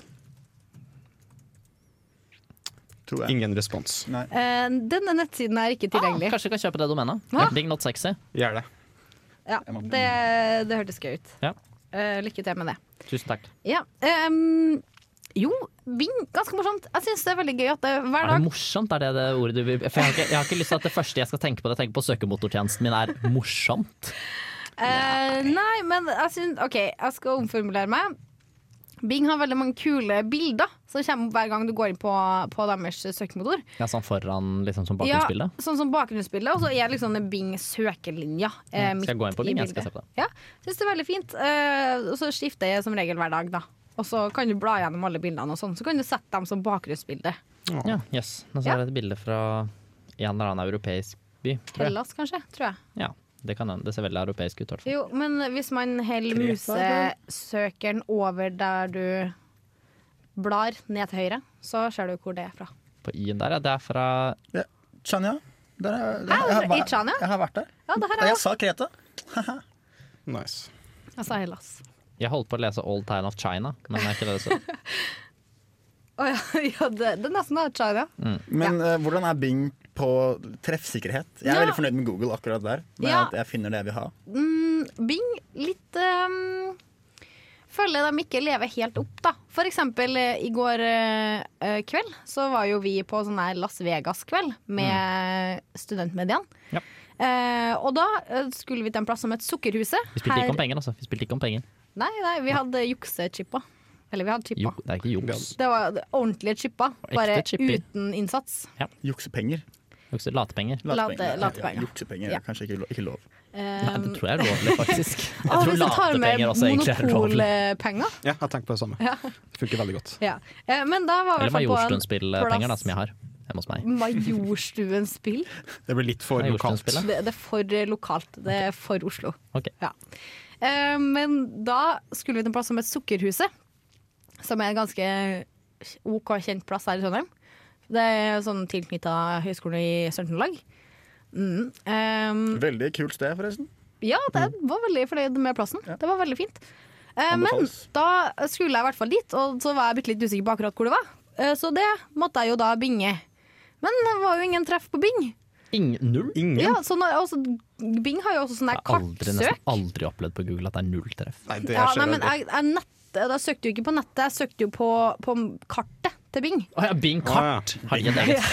Speaker 5: Tror jeg.
Speaker 2: Ingen respons.
Speaker 5: Nei.
Speaker 1: Eh, Denne nettsiden er ikke
Speaker 3: Ah,
Speaker 1: tilgjengelig.
Speaker 3: kanskje du kan kjøpe det domenet?
Speaker 1: Hva?
Speaker 3: Bing.sexy.
Speaker 2: Gjør det.
Speaker 1: ja,
Speaker 5: Jeg må-
Speaker 1: det, det hørtes gøy ut.
Speaker 3: Ja.
Speaker 1: Eh, lykke til med det.
Speaker 3: Tusen takk.
Speaker 1: Ja, ehm, jo, Bing, ganske morsomt. Jeg syns det er veldig gøy at det hver
Speaker 3: Er det
Speaker 1: dag
Speaker 3: morsomt? Er det det ordet du vil For jeg har, ikke, jeg har ikke lyst til at det første jeg skal tenke på, det jeg tenker på søkemotortjenesten min, er morsomt.
Speaker 1: Eh, Nei, men jeg syns OK, jeg skal omformulere meg. Bing har veldig mange kule bilder som kommer opp hver gang du går inn på, på deres søkemotor.
Speaker 3: Ja, sånn foran liksom som bakgrunnsbilde.
Speaker 1: Ja, sånn som bakgrunnsbildet, og så er liksom den Bing søkelinja. Eh,
Speaker 3: Mm, skal jeg
Speaker 1: midt
Speaker 3: gå inn på
Speaker 1: i
Speaker 3: Bing? Jeg
Speaker 1: bildet.
Speaker 3: skal se på det.
Speaker 1: Ja, synes det er veldig fint. Eh, og så skifter jeg som regel hver dag, da. Og så kan du bla gjennom alle bildene, og sånn, så kan du sette dem som bakgrunnsbilde.
Speaker 3: Ja, jøss. Nå ser jeg et bilde fra en eller annen europeisk by. tror jeg.
Speaker 1: Hellas, kanskje, tror jeg.
Speaker 3: Ja, det, kan, hende. det ser veldig europeisk ut, i hvert fall.
Speaker 1: Jo, men hvis man heller musesøkeren over der du blar ned til høyre, så ser du hvor det er fra.
Speaker 3: På i-en der, ja. Det er fra
Speaker 5: Ja. Chania. Der er, der,
Speaker 1: Ah,
Speaker 5: jeg, har,
Speaker 1: i Chania?
Speaker 5: jeg har vært der.
Speaker 1: Ja, det her
Speaker 5: Og
Speaker 1: er
Speaker 5: jeg sa Kreta.
Speaker 2: Nice.
Speaker 1: Jeg sa Hellas.
Speaker 3: Jeg holdt på å lese Old Town of China, men det er ikke det det står.
Speaker 1: Å ja, ja, det, det er nesten da, China.
Speaker 3: Mm.
Speaker 5: Men eh, hvordan er Bing på treffsikkerhet? Jeg er
Speaker 1: Ja.
Speaker 5: veldig fornøyd med Google akkurat der. Med
Speaker 1: Ja.
Speaker 5: at jeg finner det jeg vil ha.
Speaker 1: mm, Bing litt um, Føler de ikke lever helt opp, da. For eksempel eh, i går eh, eh, kveld så var jo vi på sånn her Las Vegas-kveld med studentmediene.
Speaker 3: Mm. Ja.
Speaker 1: Eh, og da eh, skulle vi til en plass som het Sukkerhuset.
Speaker 3: Vi spilte
Speaker 1: Her-
Speaker 3: ikke om penger, altså. Vi spilte ikke om penger.
Speaker 1: Nei, nei, vi hadde juksechippa. Eller vi hadde
Speaker 3: Jo,
Speaker 1: chippa.
Speaker 3: det er ikke juks.
Speaker 1: Det var ordentlige chippa,
Speaker 3: Ekte
Speaker 1: bare
Speaker 3: chipper.
Speaker 1: uten innsats.
Speaker 5: Juksepenger.
Speaker 3: Juks- Latepenger.
Speaker 1: Late-
Speaker 5: Nei,
Speaker 1: latepenger.
Speaker 5: ja, Juksepenger
Speaker 1: Ja.
Speaker 5: er kanskje ikke, lo- ikke lov.
Speaker 3: Nei, det tror jeg er lovlig, faktisk.
Speaker 1: Ah,
Speaker 3: Jeg tror
Speaker 1: Eh, hvis du tar med
Speaker 3: latepenger også egentlig er lovlig.
Speaker 1: monopolpenger
Speaker 2: Ja, jeg tenker på det samme. Det funker veldig godt.
Speaker 1: Ja. Eh, Men da var vi i hvert
Speaker 3: Eller
Speaker 1: fall på en
Speaker 3: Majorstuen-spillpenger, da,
Speaker 1: plass-
Speaker 3: som jeg har hjemme hos meg.
Speaker 1: Majorstuens spill.
Speaker 2: Det blir litt for
Speaker 3: Nei,
Speaker 2: lokalt.
Speaker 3: Jorstuen-spillet.
Speaker 1: Det, det er for eh, lokalt. Det er for Oslo.
Speaker 3: Ok.
Speaker 1: Ja. Eh, men da skulle vi til en plass som het Sukkerhuset, som er en ganske OK kjent plass her i Trondheim. Det er sånn tilknytta Høgskolen i Sør-Trøndelag. Mm. Eh,
Speaker 5: Veldig kult sted, forresten.
Speaker 1: ja, jeg var veldig fornøyd med plassen.
Speaker 5: Ja.
Speaker 1: Det var veldig fint. Eh, men
Speaker 5: Anbefales.
Speaker 1: da skulle jeg i hvert fall dit, og så var jeg bitte litt usikker på akkurat hvor det var. Eh, så det måtte jeg jo da binge. Men det var jo ingen treff på bing.
Speaker 3: Ingen, null?
Speaker 2: Ingen?
Speaker 1: Ja, så når, altså, Bing har jo også sånn
Speaker 3: Jeg
Speaker 1: der
Speaker 3: har aldri, nesten
Speaker 1: kartsøk.
Speaker 3: aldri opplevd på Google at det er null treff.
Speaker 2: Nei, det
Speaker 1: Ja,
Speaker 2: skjer
Speaker 1: nei, men
Speaker 2: aldri.
Speaker 1: jeg, jeg, nett, jeg søkte jo ikke på nettet, jeg søkte jo på, på kartet til Bing.
Speaker 3: Å ja, Bing kart!
Speaker 2: Å, ja.
Speaker 3: Har de et eget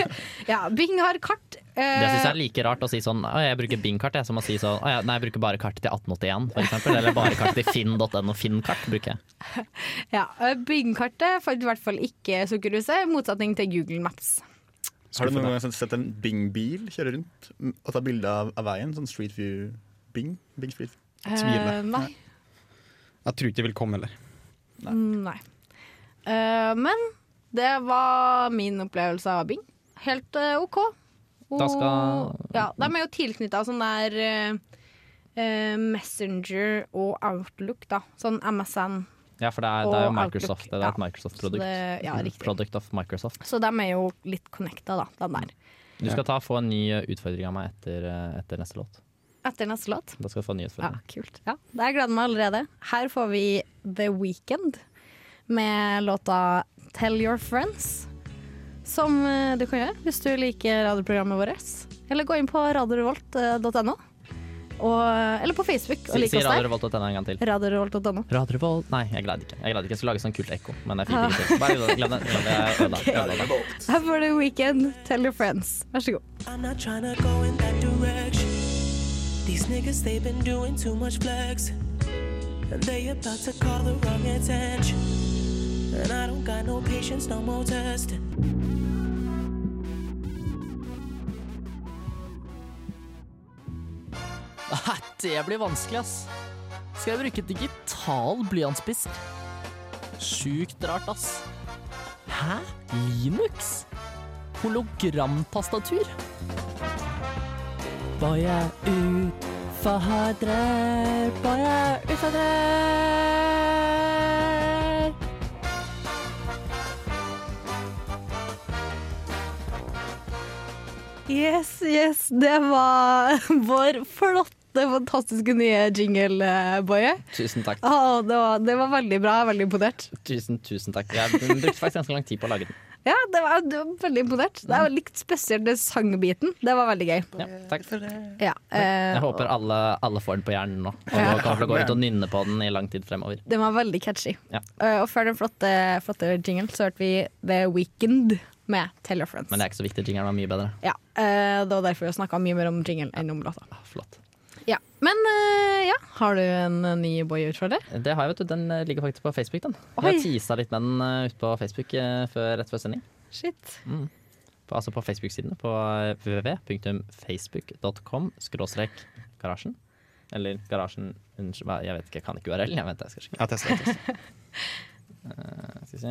Speaker 3: kart?
Speaker 1: Ja, Bing har kart. eh,
Speaker 3: Det syns jeg er like rart å si sånn Å, jeg bruker Bing-kart, jeg, som å si sånn Å ja, nei, jeg bruker bare kartet til 1881, for eksempel. Eller bare kartet til finn.no, Finn-kart bruker jeg.
Speaker 1: ja, eh, Bing-kartet fant i hvert fall ikke Sukkerhuset, i motsetning til Google Maps.
Speaker 5: Har du noen gang sett en Bing-bil kjøre rundt mm, og ta bilde av, av veien? Sånn Street View Bing? Bing Street View.
Speaker 1: Eh, nei.
Speaker 2: Jeg tror ikke det vil komme heller.
Speaker 1: Mm, nei. Eh, men det var min opplevelse av Bing. Helt eh, OK. Og-
Speaker 3: Da skal-
Speaker 1: ja, De er jo tilknytta sånn der eh, eh, Messenger og Outlook, da. Sånn MSN
Speaker 3: Ja, for det er, det er jo
Speaker 1: Og
Speaker 3: Microsoft.
Speaker 1: Outlook,
Speaker 3: Det er
Speaker 1: ja.
Speaker 3: et
Speaker 1: Så
Speaker 3: Microsoft-produkt.
Speaker 1: det- ja, riktig.
Speaker 3: Product of Microsoft.
Speaker 1: Så de er jo litt connecta, da, de der.
Speaker 3: Du skal ta, få en ny eh, utfordring av meg etter, eh, etter neste låt.
Speaker 1: Etter neste låt.
Speaker 3: Da skal du få en ny
Speaker 1: Ja,
Speaker 3: utfordring.
Speaker 1: kult. Ja. Jeg gleder meg allerede. Her får vi The Weekend med låta 'Tell Your Friends'. Som eh, du kan gjøre hvis du liker radioprogrammet vårt. Eller gå inn på radiorevolt.no. Og, eller på Facebook og
Speaker 3: Si,
Speaker 1: lik
Speaker 3: si
Speaker 1: oss
Speaker 3: Radio
Speaker 1: der.
Speaker 3: Revolt og tenne en gang til.
Speaker 1: Radiorevolt.no.
Speaker 3: Radio Revolt Nei, jeg greide ikke. Jeg greide ikke. Jeg skulle lage sånn kult ekko, men jeg
Speaker 1: Ah.
Speaker 3: fikk det ikke til. Bare glem det. Glem det. Jeg ødela- jeg ødela det.
Speaker 1: Her får du Weekend, 'Tell Your Friends'. Vær så god.
Speaker 8: I'm not tryna go in that direction. These niggas, they've been doing too much flex. And they about to call the wrong attention. And I don't got no patience, no more testing.
Speaker 3: Nei, det blir vanskelig, ass. Skal jeg bruke digital blyantspiss? Sjukt rart, ass. Hæ? Linux? Hologramtastatur? Var jeg utfadrer? Var jeg utfadrer?
Speaker 1: Yes, yes. Det var vår flotte, fantastiske nye jingle, Boje.
Speaker 3: Tusen takk.
Speaker 1: Å, det, var, det var veldig bra. Jeg er veldig imponert.
Speaker 3: Tusen, tusen takk. Jeg brukte faktisk ganske lang tid på å lage den.
Speaker 1: Ja, det var, det var veldig imponert. Det er jo likt spesielt den sangbiten. Det var veldig gøy.
Speaker 3: Ja, takk.
Speaker 1: Ja, eh,
Speaker 3: Jeg håper alle, alle får den på hjernen nå. Og nå kommer til å gå ut og nynne på den i lang tid fremover.
Speaker 1: den var veldig catchy.
Speaker 3: Ja.
Speaker 1: Eh, og før den flotte, flotte jinglen så hørte vi The Weekend med Tell Your Friends.
Speaker 3: Men det er ikke så viktig. Jingeren var mye bedre.
Speaker 1: ja, eh, det var derfor jeg snakka mye mer om jinglen enn om låta.
Speaker 3: Ah, flott.
Speaker 1: Ja. Men eh, ja, har du en eh, ny boy-utfordrer?
Speaker 3: Det har jeg, vet du. Den eh, ligger faktisk på Facebook, den.
Speaker 1: Oi.
Speaker 3: Jeg teasa litt med den eh, ute på Facebook eh, før, rett før sending.
Speaker 1: Shit.
Speaker 3: På- Altså på Facebook-sidene på eh, www.facebook.com skråstrek garasjen. Eller garasjen Unnskyld, hva- jeg vet ikke, jeg kan ikke URL. Jeg venter, jeg skal sjekke.
Speaker 2: Jeg tester, jeg tester.
Speaker 3: Jeg Skal vi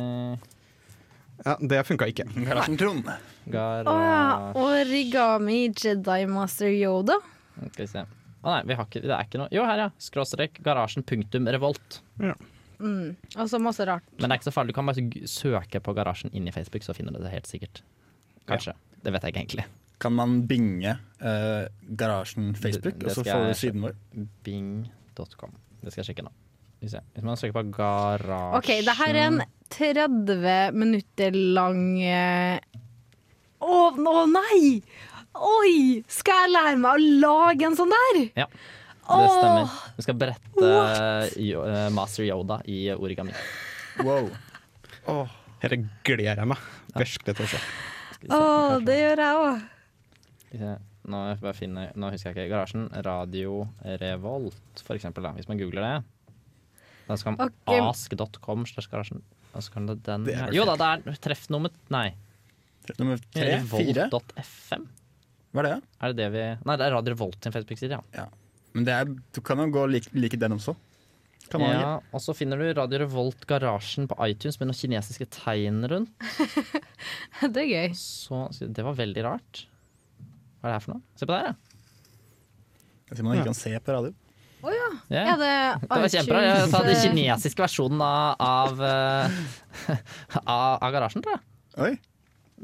Speaker 2: Ja, det funka ikke.
Speaker 5: Karasjen Trond.
Speaker 3: se Gar...
Speaker 1: Å ja. Origami Jedi Master Yoda.
Speaker 3: Skal vi se. Å nei, vi har ikke, det er ikke noe Jo, her, ja. Skråstrek garasjen punktum revolt.
Speaker 1: Og så Altså, masse rart.
Speaker 3: Men det er ikke så farlig. Du kan bare g- søke på garasjen inni Facebook, så finner du det helt sikkert. Kanskje. Det vet jeg ikke egentlig.
Speaker 5: Kan man binge eh, Garasjen Facebook,
Speaker 3: Det- det
Speaker 5: og så
Speaker 3: skal
Speaker 5: får du
Speaker 3: jeg-
Speaker 5: siden vår?
Speaker 3: Bing.com. Det skal jeg sjekke nå. Skal vi se. Hvis man søker på garasjen
Speaker 1: OK, det her er en 30 minutter lang eh, Å, nå nei! Oi! Skal jeg lære meg å lage en sånn der?
Speaker 3: Ja, det stemmer.
Speaker 1: Åh,
Speaker 3: Du skal brette
Speaker 1: what?
Speaker 3: Yo- eh, Master Yoda i origami.
Speaker 5: Wow.
Speaker 2: Dette gleder jeg meg virkelig til å se.
Speaker 3: Skal vi se.
Speaker 1: Å, det gjør jeg òg.
Speaker 3: Skal vi se. Nå, må jeg bare finne, nå husker jeg ikke. Garasjen. Radio Revolt, for eksempel. Da. Hvis man googler det. Da skal man
Speaker 1: Ok.
Speaker 3: ask.com slash garasjen. Og så kan du den
Speaker 2: Det er
Speaker 3: Jo da, det er treff nummer Nei.
Speaker 5: Nummer tre? Fire?
Speaker 3: Revolt.fm.
Speaker 5: Hva er det?
Speaker 3: Er det det vi Nei, det er Radio Revolt sin Facebook-side, ja.
Speaker 5: Ja. Men det er, du kan jo gå like, like den også. Kan man
Speaker 3: ja. Og så finner du Radio Revolt Garasjen på iTunes med noen kinesiske tegn rundt.
Speaker 1: Det er gøy.
Speaker 3: Så Det var veldig rart. Hva er det her for noe? Se på det her, ja.
Speaker 5: ikke? Jeg tror man ikke kan se på radio.
Speaker 3: Ja,
Speaker 1: Er det
Speaker 3: Det var kjempebra. Jeg sa den kinesiske versjonen av, av, eh, av, av garasjen, tror jeg.
Speaker 5: Oi.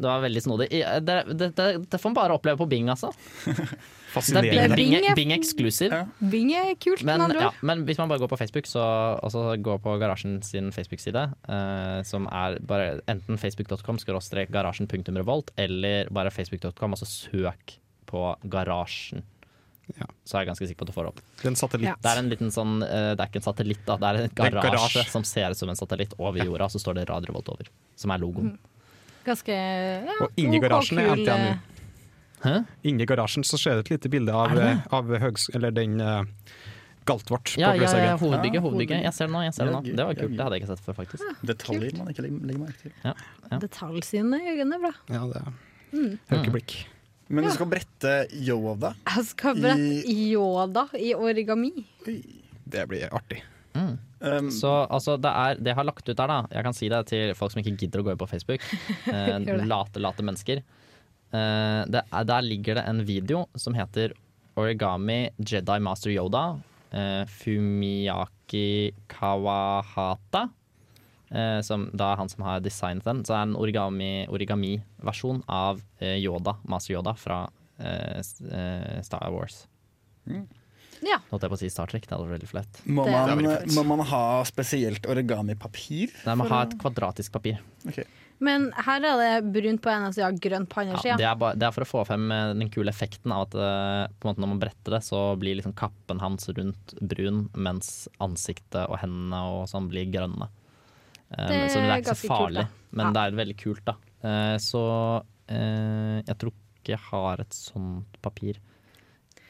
Speaker 3: Det var veldig snodig. I- eh, Det, det, det, det får man bare oppleve på Bing, altså. Det er
Speaker 2: Fascinerende.
Speaker 3: Bing, Bing,
Speaker 1: Bing er-
Speaker 3: Bing Exclusive.
Speaker 5: Ja.
Speaker 1: Bing er kult,
Speaker 3: Men,
Speaker 1: med andre
Speaker 3: ja,
Speaker 1: ord.
Speaker 3: men hvis man bare går på Facebook, så altså, gå på Garasjen sin Facebook-side, eh, som er bare enten facebook.com skråstrek garasjen.revolt, eller bare facebook.com, altså søk på Garasjen.
Speaker 2: Ja.
Speaker 3: Så er jeg ganske sikker på at du får opp.
Speaker 2: Det er en
Speaker 1: Ja.
Speaker 2: satellitt.
Speaker 3: Det er en liten sånn, eh, det er ikke en satellitt da, det er en
Speaker 2: er en
Speaker 3: garasje,
Speaker 2: garasje.
Speaker 3: som ser ut som en satellitt over jorda, så står det Radio Revolt over, som er logoen.
Speaker 1: Ganske ja,
Speaker 2: Og inni
Speaker 1: ok,
Speaker 2: garasjen er
Speaker 1: kul,
Speaker 2: NTNU.
Speaker 1: eh,
Speaker 3: Hæ?
Speaker 2: Inni garasjen så ser du et lite bilde av, eh, av høgs eller den eh, Galtvort
Speaker 3: Ja,
Speaker 2: på
Speaker 3: ja, ja,
Speaker 2: Gløshaugen.
Speaker 3: hovedbygget,
Speaker 5: Ja,
Speaker 3: hovedbygget.
Speaker 5: hovedbygget.
Speaker 3: Jeg ser det nå, jeg ser det nå.
Speaker 5: Ja,
Speaker 3: Det var
Speaker 5: gøy,
Speaker 3: kult,
Speaker 5: gøy.
Speaker 3: det hadde jeg ikke sett før faktisk.
Speaker 5: Detaljer man ikke legger, legger merke til.
Speaker 3: Ja, ja.
Speaker 1: Detaljsyn i øynene er bra.
Speaker 2: Ja, det er
Speaker 1: Mm.
Speaker 2: Høykeblikk.
Speaker 3: Mm.
Speaker 5: Men du skal brette Yoda.
Speaker 1: Jeg skal brette
Speaker 5: I-
Speaker 1: Yoda i origami.
Speaker 2: Det blir artig.
Speaker 1: Mm.
Speaker 5: Um,
Speaker 3: Så altså, det, er, det jeg har lagt ut der da, jeg kan si det til folk som ikke gidder å gå inn på Facebook, eh,
Speaker 1: Gjør det.
Speaker 3: late, late mennesker. Eh, det er, der ligger det en video som heter Origami Jedi Master Yoda eh, Fumiaki Kawahata. eh, som da er han som har designet den. Så er det en origami- origami-versjon av eh, Yoda, Master Yoda fra eh, s- eh, Star Wars.
Speaker 1: Ja.
Speaker 3: Nå holdt jeg på å si Star Trek, det hadde vært veldig flaut.
Speaker 5: Må
Speaker 1: Det er
Speaker 5: man,
Speaker 1: veldig fett.
Speaker 5: må man ha spesielt origami-papir?
Speaker 3: Nei, man har et kvadratisk papir.
Speaker 1: Men her er det brunt på ene sida, grønt på andre
Speaker 3: Ja,
Speaker 1: sida.
Speaker 3: det, er bare, det er for å få frem eh, den kule effekten av at eh, på en måte når man bretter det, så blir liksom kappen hans rundt brun, mens ansiktet og hendene og sånn blir grønne. Eh,
Speaker 1: Det
Speaker 3: så det
Speaker 1: er
Speaker 3: er ikke
Speaker 1: ganske kult,
Speaker 3: så
Speaker 1: da.
Speaker 3: farlig, men
Speaker 1: Ja.
Speaker 3: det er veldig kult, da. Eh, så eh, jeg tror ikke jeg har et sånt papir.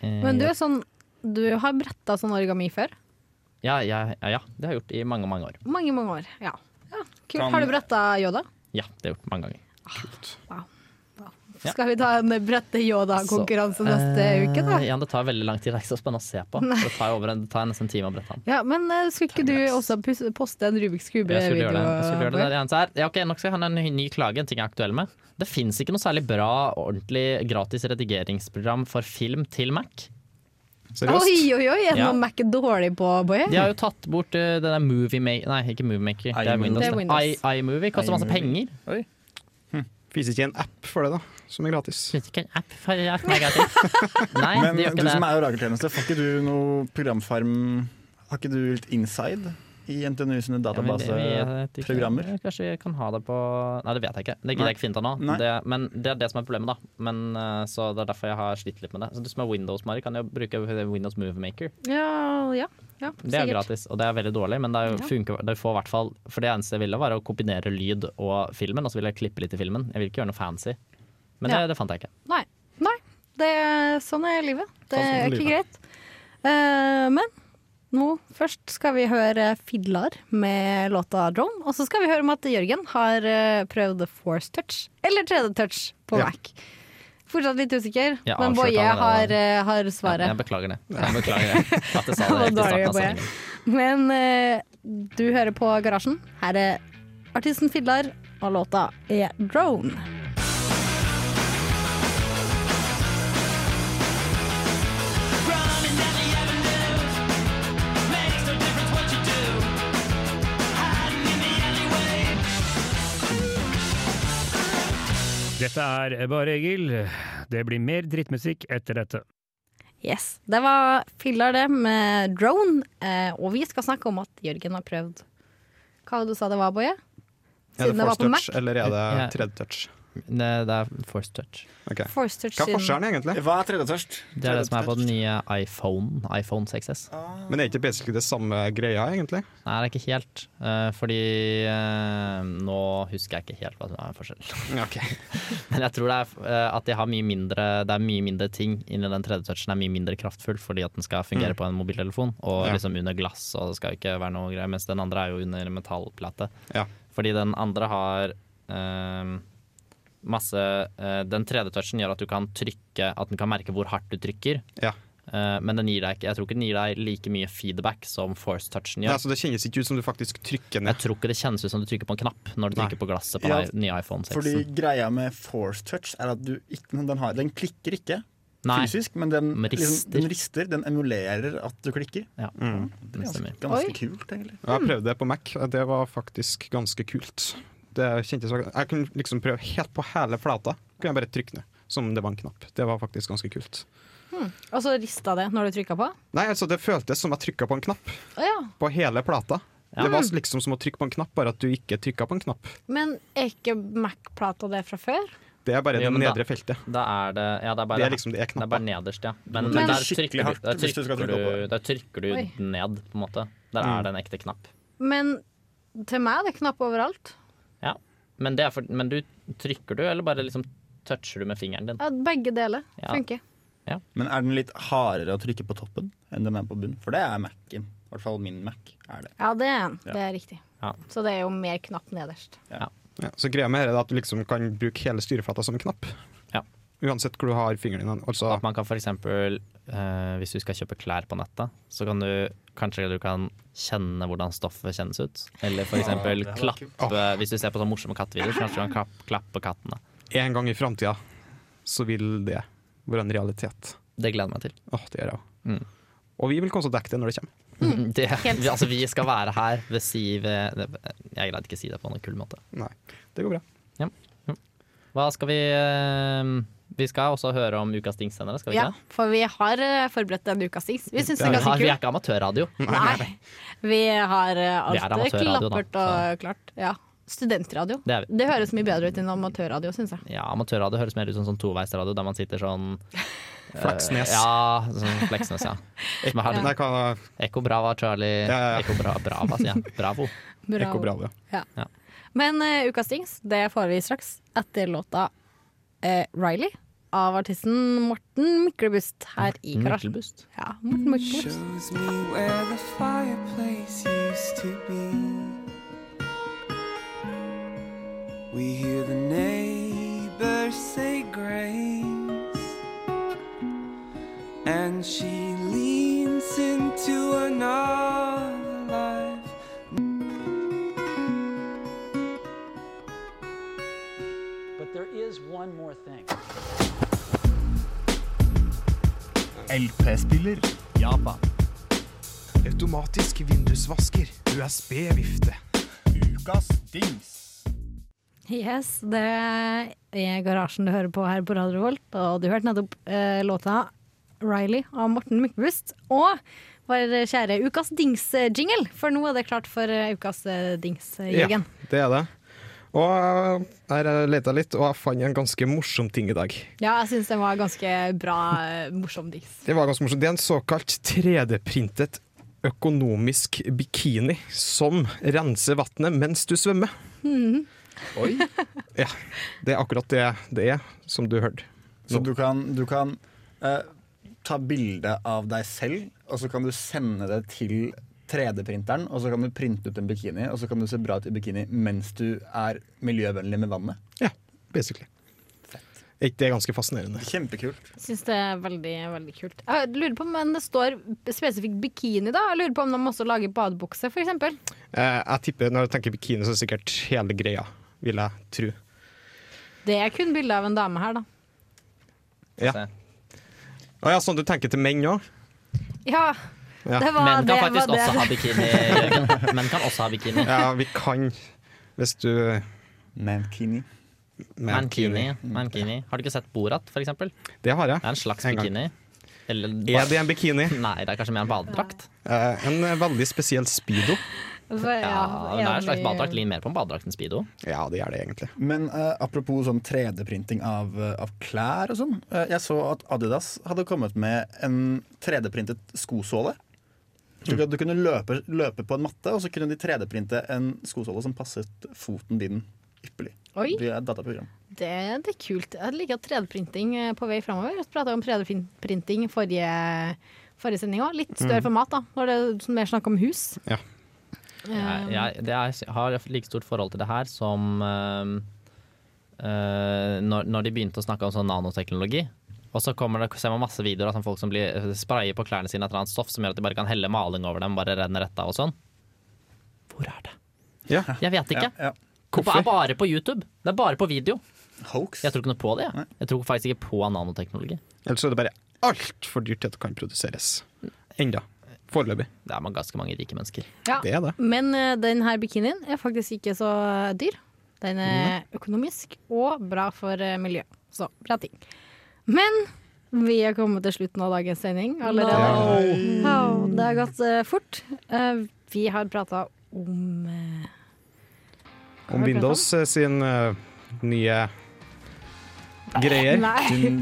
Speaker 3: Eh,
Speaker 1: Men du er sånn Du har bretta sånn origami før?
Speaker 3: ja, ja, ja, ja, det har jeg gjort i mange, mange år.
Speaker 1: Mange, mange år. Ja. ja kult.
Speaker 5: Kan-
Speaker 1: Har du bretta Yoda?
Speaker 3: Ja, det har jeg gjort mange ganger. Ja.
Speaker 1: Skal vi ta en brette Yoda-konkurranse neste
Speaker 3: Eh,
Speaker 1: uke, da?
Speaker 3: Ja, det tar veldig lang tid. Det er ikke så spennende å se på. Det tar, jo over en, det tar nesten en time å brette den.
Speaker 1: Ja, men eh, skulle ikke du også pus- poste en Rubiks
Speaker 3: Jeg skulle gjøre
Speaker 1: kube-video?
Speaker 3: det. Jeg skulle gjøre det. Det eneste er- sånn Ja, ok, Nå skal jeg ha en ny- ny klage, en ting jeg er aktuell med. Det fins ikke noe særlig bra, ordentlig gratis redigeringsprogram for film til Mac.
Speaker 1: Oi,
Speaker 2: Seriøst?
Speaker 1: oi, oi! Er det
Speaker 3: Ja.
Speaker 1: noe Mac er dårlig på, Boje?
Speaker 3: De har jo tatt bort uh, det der Moviemaker Nei, ikke Moviemaker. Det er
Speaker 5: iMovie.
Speaker 3: Windows.
Speaker 1: Det er Windows.
Speaker 3: I- iMovie koster masse penger.
Speaker 5: iMovie. Oi.
Speaker 2: Fins ikke en app for det, da? Som er gratis?
Speaker 3: Finnes ikke en app for det er negativt. Nei,
Speaker 5: Men
Speaker 3: det gjør
Speaker 5: du
Speaker 3: ikke
Speaker 5: som
Speaker 3: det.
Speaker 5: er orakeltjeneste, får ikke du noe programfarm Har ikke du litt inside i NTNU sine
Speaker 3: Ja, men det- vi- jeg vet
Speaker 5: databaseprogrammer?
Speaker 3: ikke. Kanskje vi kan ha det på Nei, det vet jeg ikke. Det gidder jeg ikke finne ut av nå.
Speaker 5: Nei.
Speaker 3: Det, men det er det som er problemet, da. Men, eh, så Det er derfor jeg har slitt litt med det. Så Du som er Windows, Mari, kan jo bruke Windows Moviemaker.
Speaker 1: Ja, ja, ja
Speaker 3: Det er jo
Speaker 1: sikkert.
Speaker 3: gratis, og det er veldig dårlig, men det, er jo
Speaker 1: Ja.
Speaker 3: funker, det får i hvert fall For det eneste jeg ville, var å kombinere lyd og filmen, og så ville jeg klippe litt i filmen. Jeg vil ikke gjøre noe fancy. Men det,
Speaker 1: Ja.
Speaker 3: det fant jeg ikke.
Speaker 1: Nei. Nei. Det, er- sånn er livet. Det
Speaker 2: Sånn
Speaker 1: er
Speaker 2: er
Speaker 1: ikke
Speaker 2: livet.
Speaker 1: greit. Eh, men nå først skal vi høre Fidlar med låta 'Drone'. Og så skal vi høre om at Jørgen har eh, prøvd force touch, eller 3D-touch, på
Speaker 2: Ja.
Speaker 1: Mac. Fortsatt litt usikker,
Speaker 3: Jeg
Speaker 1: men
Speaker 3: avslørte
Speaker 1: Boje har,
Speaker 3: allerede.
Speaker 1: eh, har
Speaker 3: Jeg,
Speaker 1: svaret.
Speaker 3: jeg beklager det. Jeg beklager det. At jeg sa
Speaker 1: Det
Speaker 3: det helt
Speaker 1: var
Speaker 3: i starten
Speaker 1: dårlig,
Speaker 3: av sendingen.
Speaker 1: Men eh, du hører på Garasjen. Her er artisten Fidlar, og låta er 'Drone'.
Speaker 9: Dette er bare Egil. Det blir mer drittmusikk etter dette.
Speaker 1: Yes, Det var filler det med drone. Eh, og vi skal snakke om at Jørgen har prøvd Hva var det du sa det var, Boje?
Speaker 2: Er
Speaker 1: Siden
Speaker 2: det
Speaker 1: det var
Speaker 2: force
Speaker 1: på Mac?
Speaker 2: touch, eller er det
Speaker 3: Ja.
Speaker 2: thread touch?
Speaker 3: Det, det er force touch.
Speaker 2: Ok.
Speaker 1: Force touch
Speaker 2: Hva er
Speaker 1: siden-
Speaker 2: forskjellen, egentlig?
Speaker 5: Hva er tredje tørst?
Speaker 3: Det er det som er på den nye iPhone, iPhone 6S.
Speaker 2: Men er ikke basically det samme greia, egentlig?
Speaker 3: Nei, det er ikke helt. eh, fordi eh, nå husker jeg ikke helt hva som er forskjellen.
Speaker 2: Ok.
Speaker 3: Men jeg tror det er eh, at de har mye mindre, det er mye mindre ting inni den tredje touchen. er mye mindre kraftfull fordi at den skal
Speaker 5: Mm.
Speaker 3: fungere på en mobiltelefon og
Speaker 2: Ja.
Speaker 3: liksom under glass. og det skal ikke være noe greier, Mens den andre er jo under metallplate.
Speaker 2: Ja.
Speaker 3: Fordi den andre har eh, masse eh, Den tredje touchen gjør at du kan trykke, at den kan merke hvor hardt du trykker.
Speaker 2: Ja.
Speaker 3: Eh, men den gir deg ikke, jeg tror ikke den gir deg like mye feedback som force touchen
Speaker 2: Nei,
Speaker 5: altså,
Speaker 2: så
Speaker 3: gjør.
Speaker 2: det kjennes ikke ut som du faktisk trykker
Speaker 3: Jeg
Speaker 2: ned.
Speaker 3: tror ikke det kjennes ut som du trykker på en knapp når du
Speaker 2: Nei.
Speaker 3: trykker på glasset på
Speaker 5: Ja,
Speaker 3: den nye iPhone 6.
Speaker 5: Fordi greia med force touch er at du ikke, den, har, den klikker ikke
Speaker 3: Nei,
Speaker 5: fysisk, men den
Speaker 3: Men rister.
Speaker 5: liksom, den rister. Den emulerer at du klikker.
Speaker 3: ja,
Speaker 5: Mm. Det er
Speaker 3: det
Speaker 5: ganske,
Speaker 3: stemmer.
Speaker 1: Oi.
Speaker 5: ganske kult, egentlig.
Speaker 1: Mm.
Speaker 2: Jeg har prøvd det på Mac, og det var faktisk ganske kult. Det kjentes Jeg kunne liksom prøve helt på hele flata. Kunne jeg bare trykke ned, som om det var en knapp. Det var faktisk ganske kult.
Speaker 1: Og så rista det når du trykka på?
Speaker 2: Nei, altså Det føltes som jeg trykka på en knapp
Speaker 1: Å ja.
Speaker 2: på hele plata. Det var
Speaker 1: Mm.
Speaker 2: liksom som å trykke på en knapp, bare at du ikke trykka på en knapp.
Speaker 1: Men er ikke Mac-plata det fra før?
Speaker 2: Det er bare
Speaker 3: Ja,
Speaker 2: det
Speaker 3: men da-
Speaker 2: nedre feltet.
Speaker 3: Da er det Ja, det er bare,
Speaker 2: Det er liksom det er
Speaker 3: det er bare
Speaker 2: knappene.
Speaker 3: nederst, ja. Men,
Speaker 5: trykke
Speaker 3: der,
Speaker 5: skikkelig
Speaker 3: trykker du,
Speaker 5: hardt
Speaker 3: der,
Speaker 5: hvis du skal
Speaker 3: trykker
Speaker 5: trykke på Mm.
Speaker 3: du,
Speaker 5: det.
Speaker 3: der trykker du
Speaker 1: Oi.
Speaker 3: ned, på en måte. Der er det en ekte knapp.
Speaker 1: Men til meg er det knapp overalt.
Speaker 3: Ja. Men, det er for, men du trykker du, eller bare liksom toucher du med fingeren din?
Speaker 1: Ja, begge deler
Speaker 3: Ja.
Speaker 1: funker.
Speaker 5: Men er den litt hardere å trykke på toppen enn den er på bunnen? For det er Mac-en. I hvert fall min Mac er det.
Speaker 1: Ja, det er, en. det er riktig.
Speaker 3: Ja.
Speaker 1: Så det er jo mer knapp nederst.
Speaker 2: Ja, så greia med det er at du liksom kan bruke hele styreflata som en knapp.
Speaker 3: Ja.
Speaker 2: Uansett hvor du har fingeren din. Altså,
Speaker 3: At man kan for eksempel eh, hvis du skal kjøpe klær på nettet, så kan du kanskje du kan kjenne hvordan stoffet kjennes ut. Eller for eksempel
Speaker 5: Ah, det hadde vært
Speaker 3: klappe Hvis du ser på sånne morsomme kattevideoer, så kanskje du kan klapp, klappe kattene.
Speaker 2: en gang i framtida så vil det være en realitet.
Speaker 3: Det gleder jeg meg til.
Speaker 2: Åh, det gjør jeg òg.
Speaker 3: Mm.
Speaker 2: Og vi vil komme og dekke det når det kommer.
Speaker 3: Det,
Speaker 1: Helt.
Speaker 3: vi, altså, vi skal være her ved si ved Jeg greide ikke å si det på noen kul måte.
Speaker 2: Nei, det går bra.
Speaker 3: Hva skal vi eh, Vi skal også høre om ukas ting senere, skal vi
Speaker 1: Ja,
Speaker 3: ikke?
Speaker 1: for vi har eh, forberedt en ukas ting. Vi syns det er
Speaker 3: Vi,
Speaker 1: ganske
Speaker 3: har, vi er
Speaker 1: kult.
Speaker 3: ikke amatørradio.
Speaker 1: Nei, vi har eh,
Speaker 3: Vi er
Speaker 1: alt
Speaker 3: amatørradio, da,
Speaker 1: klappert og klart. Ja. Studentradio.
Speaker 3: Det er vi.
Speaker 1: Det høres mye bedre ut enn amatørradio, syns jeg.
Speaker 3: Ja, amatørradio høres mer ut som sånn toveisradio der man sitter sånn
Speaker 2: Fleksnes.
Speaker 3: Ja, sånn Fleksnes, ja. Som er-
Speaker 2: Nei, hva
Speaker 3: Ekko Brava, Charlie
Speaker 2: Ja, ja, ja.
Speaker 3: Ekko bra, Brava, sier jeg. Bravo.
Speaker 1: Bravo.
Speaker 2: Ekko Bravo.
Speaker 1: Ja.
Speaker 3: Ja.
Speaker 1: Men eh, ukas tings, det får vi straks etter låta eh, Riley av artisten Morten Myklebust her i Garasjen.
Speaker 3: Myklebust.
Speaker 1: Ja, Morten Myklebust.
Speaker 6: Shows me where the fireplace used to be. We hear the neighbors say grace, and she leans into another life.
Speaker 10: But there is one more thing.
Speaker 5: LP-spiller.
Speaker 6: Automatisk vindusvasker. USB-vifte.
Speaker 5: Ukas dings.
Speaker 1: Yes, det er Garasjen du hører på her på Radio Volt, og du hørte nettopp eh, låta Riley av Morten Myklebust. Og vår kjære ukas dings-jingle, for nå er det klart for eh, ukas eh, dings, eh, Jørgen.
Speaker 2: Ja, det er det. Og eh, her leta jeg litt, og jeg fant en ganske morsom ting i dag.
Speaker 1: Ja, jeg syns den var ganske bra, eh, morsom dings.
Speaker 2: Det var ganske morsomt. Det er en såkalt 3D-printet økonomisk bikini som renser vannet mens du svømmer.
Speaker 5: Oi.
Speaker 2: Ja, det er akkurat det det er, som du hørte.
Speaker 5: Så du kan, du kan eh, ta bilde av deg selv, og så kan du sende det til 3D-printeren, og så kan du printe ut en bikini, og så kan du se bra ut i bikini mens du er miljøvennlig med vannet.
Speaker 2: Ja, basically. Er ikke det ganske fascinerende?
Speaker 5: Kjempekult.
Speaker 1: Syns det er veldig, veldig kult. Jeg lurer på om men det står spesifikt bikini, da. Jeg lurer på om de også lager badebukse, f.eks.
Speaker 2: Eh, Jeg tipper, Når jeg tenker bikini, så er det sikkert hele greia, vil jeg tro.
Speaker 1: Det er kun bilde av en dame her, da.
Speaker 2: Ja.
Speaker 3: Se.
Speaker 2: Å ja, sånn du tenker til menn òg?
Speaker 1: Ja,
Speaker 2: Ja.
Speaker 1: det var
Speaker 3: Menn
Speaker 1: det.
Speaker 3: kan faktisk
Speaker 1: var det.
Speaker 3: også ha bikini, Jørgen. Menn kan også ha bikini.
Speaker 2: Ja, vi kan, hvis du
Speaker 5: Mankini.
Speaker 3: Mankini. Mankini. Har du ikke sett Borat, for eksempel? Det
Speaker 2: Det har jeg.
Speaker 3: er en slags
Speaker 2: En gang.
Speaker 3: bikini. Eller
Speaker 2: Er det en bikini?
Speaker 3: Nei, det er kanskje mer en badedrakt.
Speaker 2: Eh, en veldig spesiell speedo.
Speaker 1: For-
Speaker 3: Ja, det er en slags
Speaker 1: enig.
Speaker 3: badedrakt. Ligner mer på en badedrakt enn Speedo.
Speaker 2: Ja, det er det egentlig.
Speaker 5: Men eh, apropos sånn 3D-printing av, eh, av klær og sånn. eh, jeg så at Adidas hadde kommet med en 3D-printet skosåle. Du, kan- du kunne løpe, løpe på en matte, og så kunne de 3D-printe en skosåle som passet foten din ypperlig.
Speaker 1: Oi,
Speaker 5: Via et dataprogram.
Speaker 1: det, det er kult. Jeg liker at 3D-printing eh, på vei framover. Vi prata om 3D-printing forrige, forrige sending òg. Litt
Speaker 2: Mm.
Speaker 1: større format, da. Når det er mer snakk om hus.
Speaker 2: Ja.
Speaker 3: Jeg, jeg, det er, jeg har like stort forhold til det her som eh, eh, når, når de begynte å snakke om sånn nanoteknologi. Og så kommer det, ser man masse videoer av sånn folk som blir, sprayer på klærne sine et eller annet stoff som gjør at de bare kan helle maling over dem, bare renner rett av og sånn. Hvor er det?
Speaker 2: Ja.
Speaker 3: Jeg vet ikke.
Speaker 5: Ja, ja.
Speaker 3: Det er bare på YouTube. Det er bare på video.
Speaker 5: Hoax.
Speaker 3: Jeg tror ikke noe på det. Jeg, jeg tror faktisk ikke på nanoteknologi.
Speaker 2: Ellers er det bare altfor dyrt til at det kan produseres. Enda. Foreløpig.
Speaker 3: Det er man ganske mange rike mennesker.
Speaker 1: Ja.
Speaker 2: Det er det.
Speaker 1: Men eh, den her bikinien er faktisk ikke så dyr. Den er
Speaker 2: Mm.
Speaker 1: økonomisk og bra for eh, miljøet. Så bra ting. Men vi er kommet til slutten av dagens sending allerede. Ja, det har gått eh, fort. Eh, vi har prata om eh, hva
Speaker 2: Om
Speaker 1: har vi pratet
Speaker 2: Windows eh, sin eh, nye greier,
Speaker 1: Nei.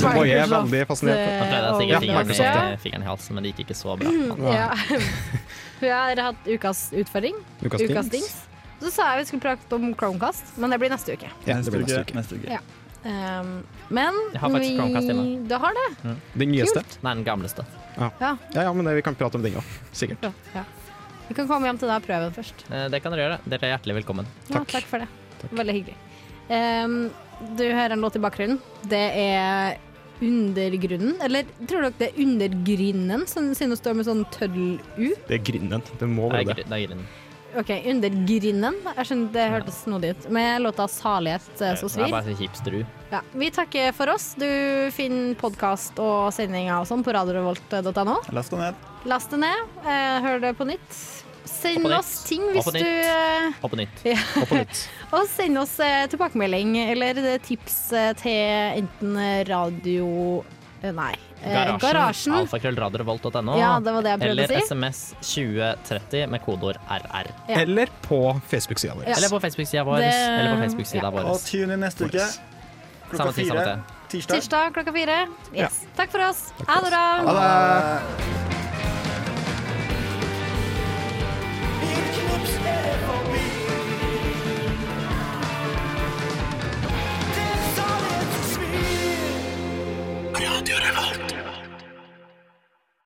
Speaker 2: som Boje er
Speaker 1: Microsoft,
Speaker 2: veldig fascinert av.
Speaker 3: Jeg pleide å
Speaker 1: eh,
Speaker 3: stikke
Speaker 2: Ja,
Speaker 3: fingeren,
Speaker 2: Microsoft,
Speaker 1: ja. Mhm.
Speaker 3: i- fingeren i halsen, men det gikk ikke så bra.
Speaker 1: Ja. Vi har hatt ukas utfordring,
Speaker 2: Ukas dings.
Speaker 1: Eh, ukas dings. Så sa jeg vi skulle prate om Chromecast, men det blir neste uke.
Speaker 2: Ja, det
Speaker 5: Neste
Speaker 2: blir
Speaker 5: uke.
Speaker 2: neste uke.
Speaker 5: Neste uke.
Speaker 1: Ja. Um, men
Speaker 3: Jeg har faktisk Chromecast hjemme.
Speaker 1: Du har det?
Speaker 2: Den nyeste.
Speaker 3: Nei, den gamleste.
Speaker 1: Ja.
Speaker 2: Ja, ja, men det, vi kan prate om den òg. Sikkert.
Speaker 1: Ja. Ja. Vi kan komme hjem til deg og prøve den først.
Speaker 3: Eh, Det kan dere gjøre. Dere er hjertelig velkommen.
Speaker 1: Ja,
Speaker 2: Takk.
Speaker 1: takk for det. Veldig hyggelig. Ehm, du hører en låt i bakgrunnen. Det er Undergrunnen. Eller tror dere det er Undergrynnen, som- siden det står med sånn tøddel-u?
Speaker 2: Det er grinden. Det må
Speaker 3: Det
Speaker 2: være
Speaker 3: er
Speaker 2: det.
Speaker 3: gr- det er grinnen.
Speaker 1: Ok, Under grinden. Jeg skjønner det hørtes snodig ut. Med låta 'Salighet eh, som
Speaker 3: Det er
Speaker 1: svir'.
Speaker 3: bare så hipster du.
Speaker 1: Ja, vi takker for oss. Du finner podkast og sendinger og sånn på radiorevolt.no.
Speaker 5: Last og ned.
Speaker 1: Last det ned. eh, Hør det på nytt. Send
Speaker 3: Og på nytt.
Speaker 1: oss ting
Speaker 3: Og
Speaker 1: hvis
Speaker 3: på nytt.
Speaker 1: du eh,
Speaker 3: Hopp på nytt.
Speaker 1: ja.
Speaker 3: Hopp på nytt.
Speaker 1: Og send oss eh, tilbakemelding eller eh, tips eh, til enten radio eh, Nei. eh,
Speaker 3: Garasjen.
Speaker 1: Garasjen.
Speaker 3: Alfakrøllradiorevolt.no.
Speaker 1: Ja, det var det jeg prøvde
Speaker 3: Eller
Speaker 1: å si.
Speaker 3: SMS 2030 med kodeord RR.
Speaker 1: Ja.
Speaker 2: Eller på Facebook-sida vår.
Speaker 1: Ja.
Speaker 3: Eller på Facebook-sida vår.
Speaker 1: Det-
Speaker 3: Eller på Facebook-sida
Speaker 1: ja.
Speaker 3: vår.
Speaker 5: Og tune inn neste uke. Klokka
Speaker 3: Samme tid, samme
Speaker 5: fire.
Speaker 3: tid.
Speaker 5: Tirsdag.
Speaker 1: Tirsdag klokka fire. Yes. Takk for oss. Ha det bra.
Speaker 5: Ha det.
Speaker 6: sånn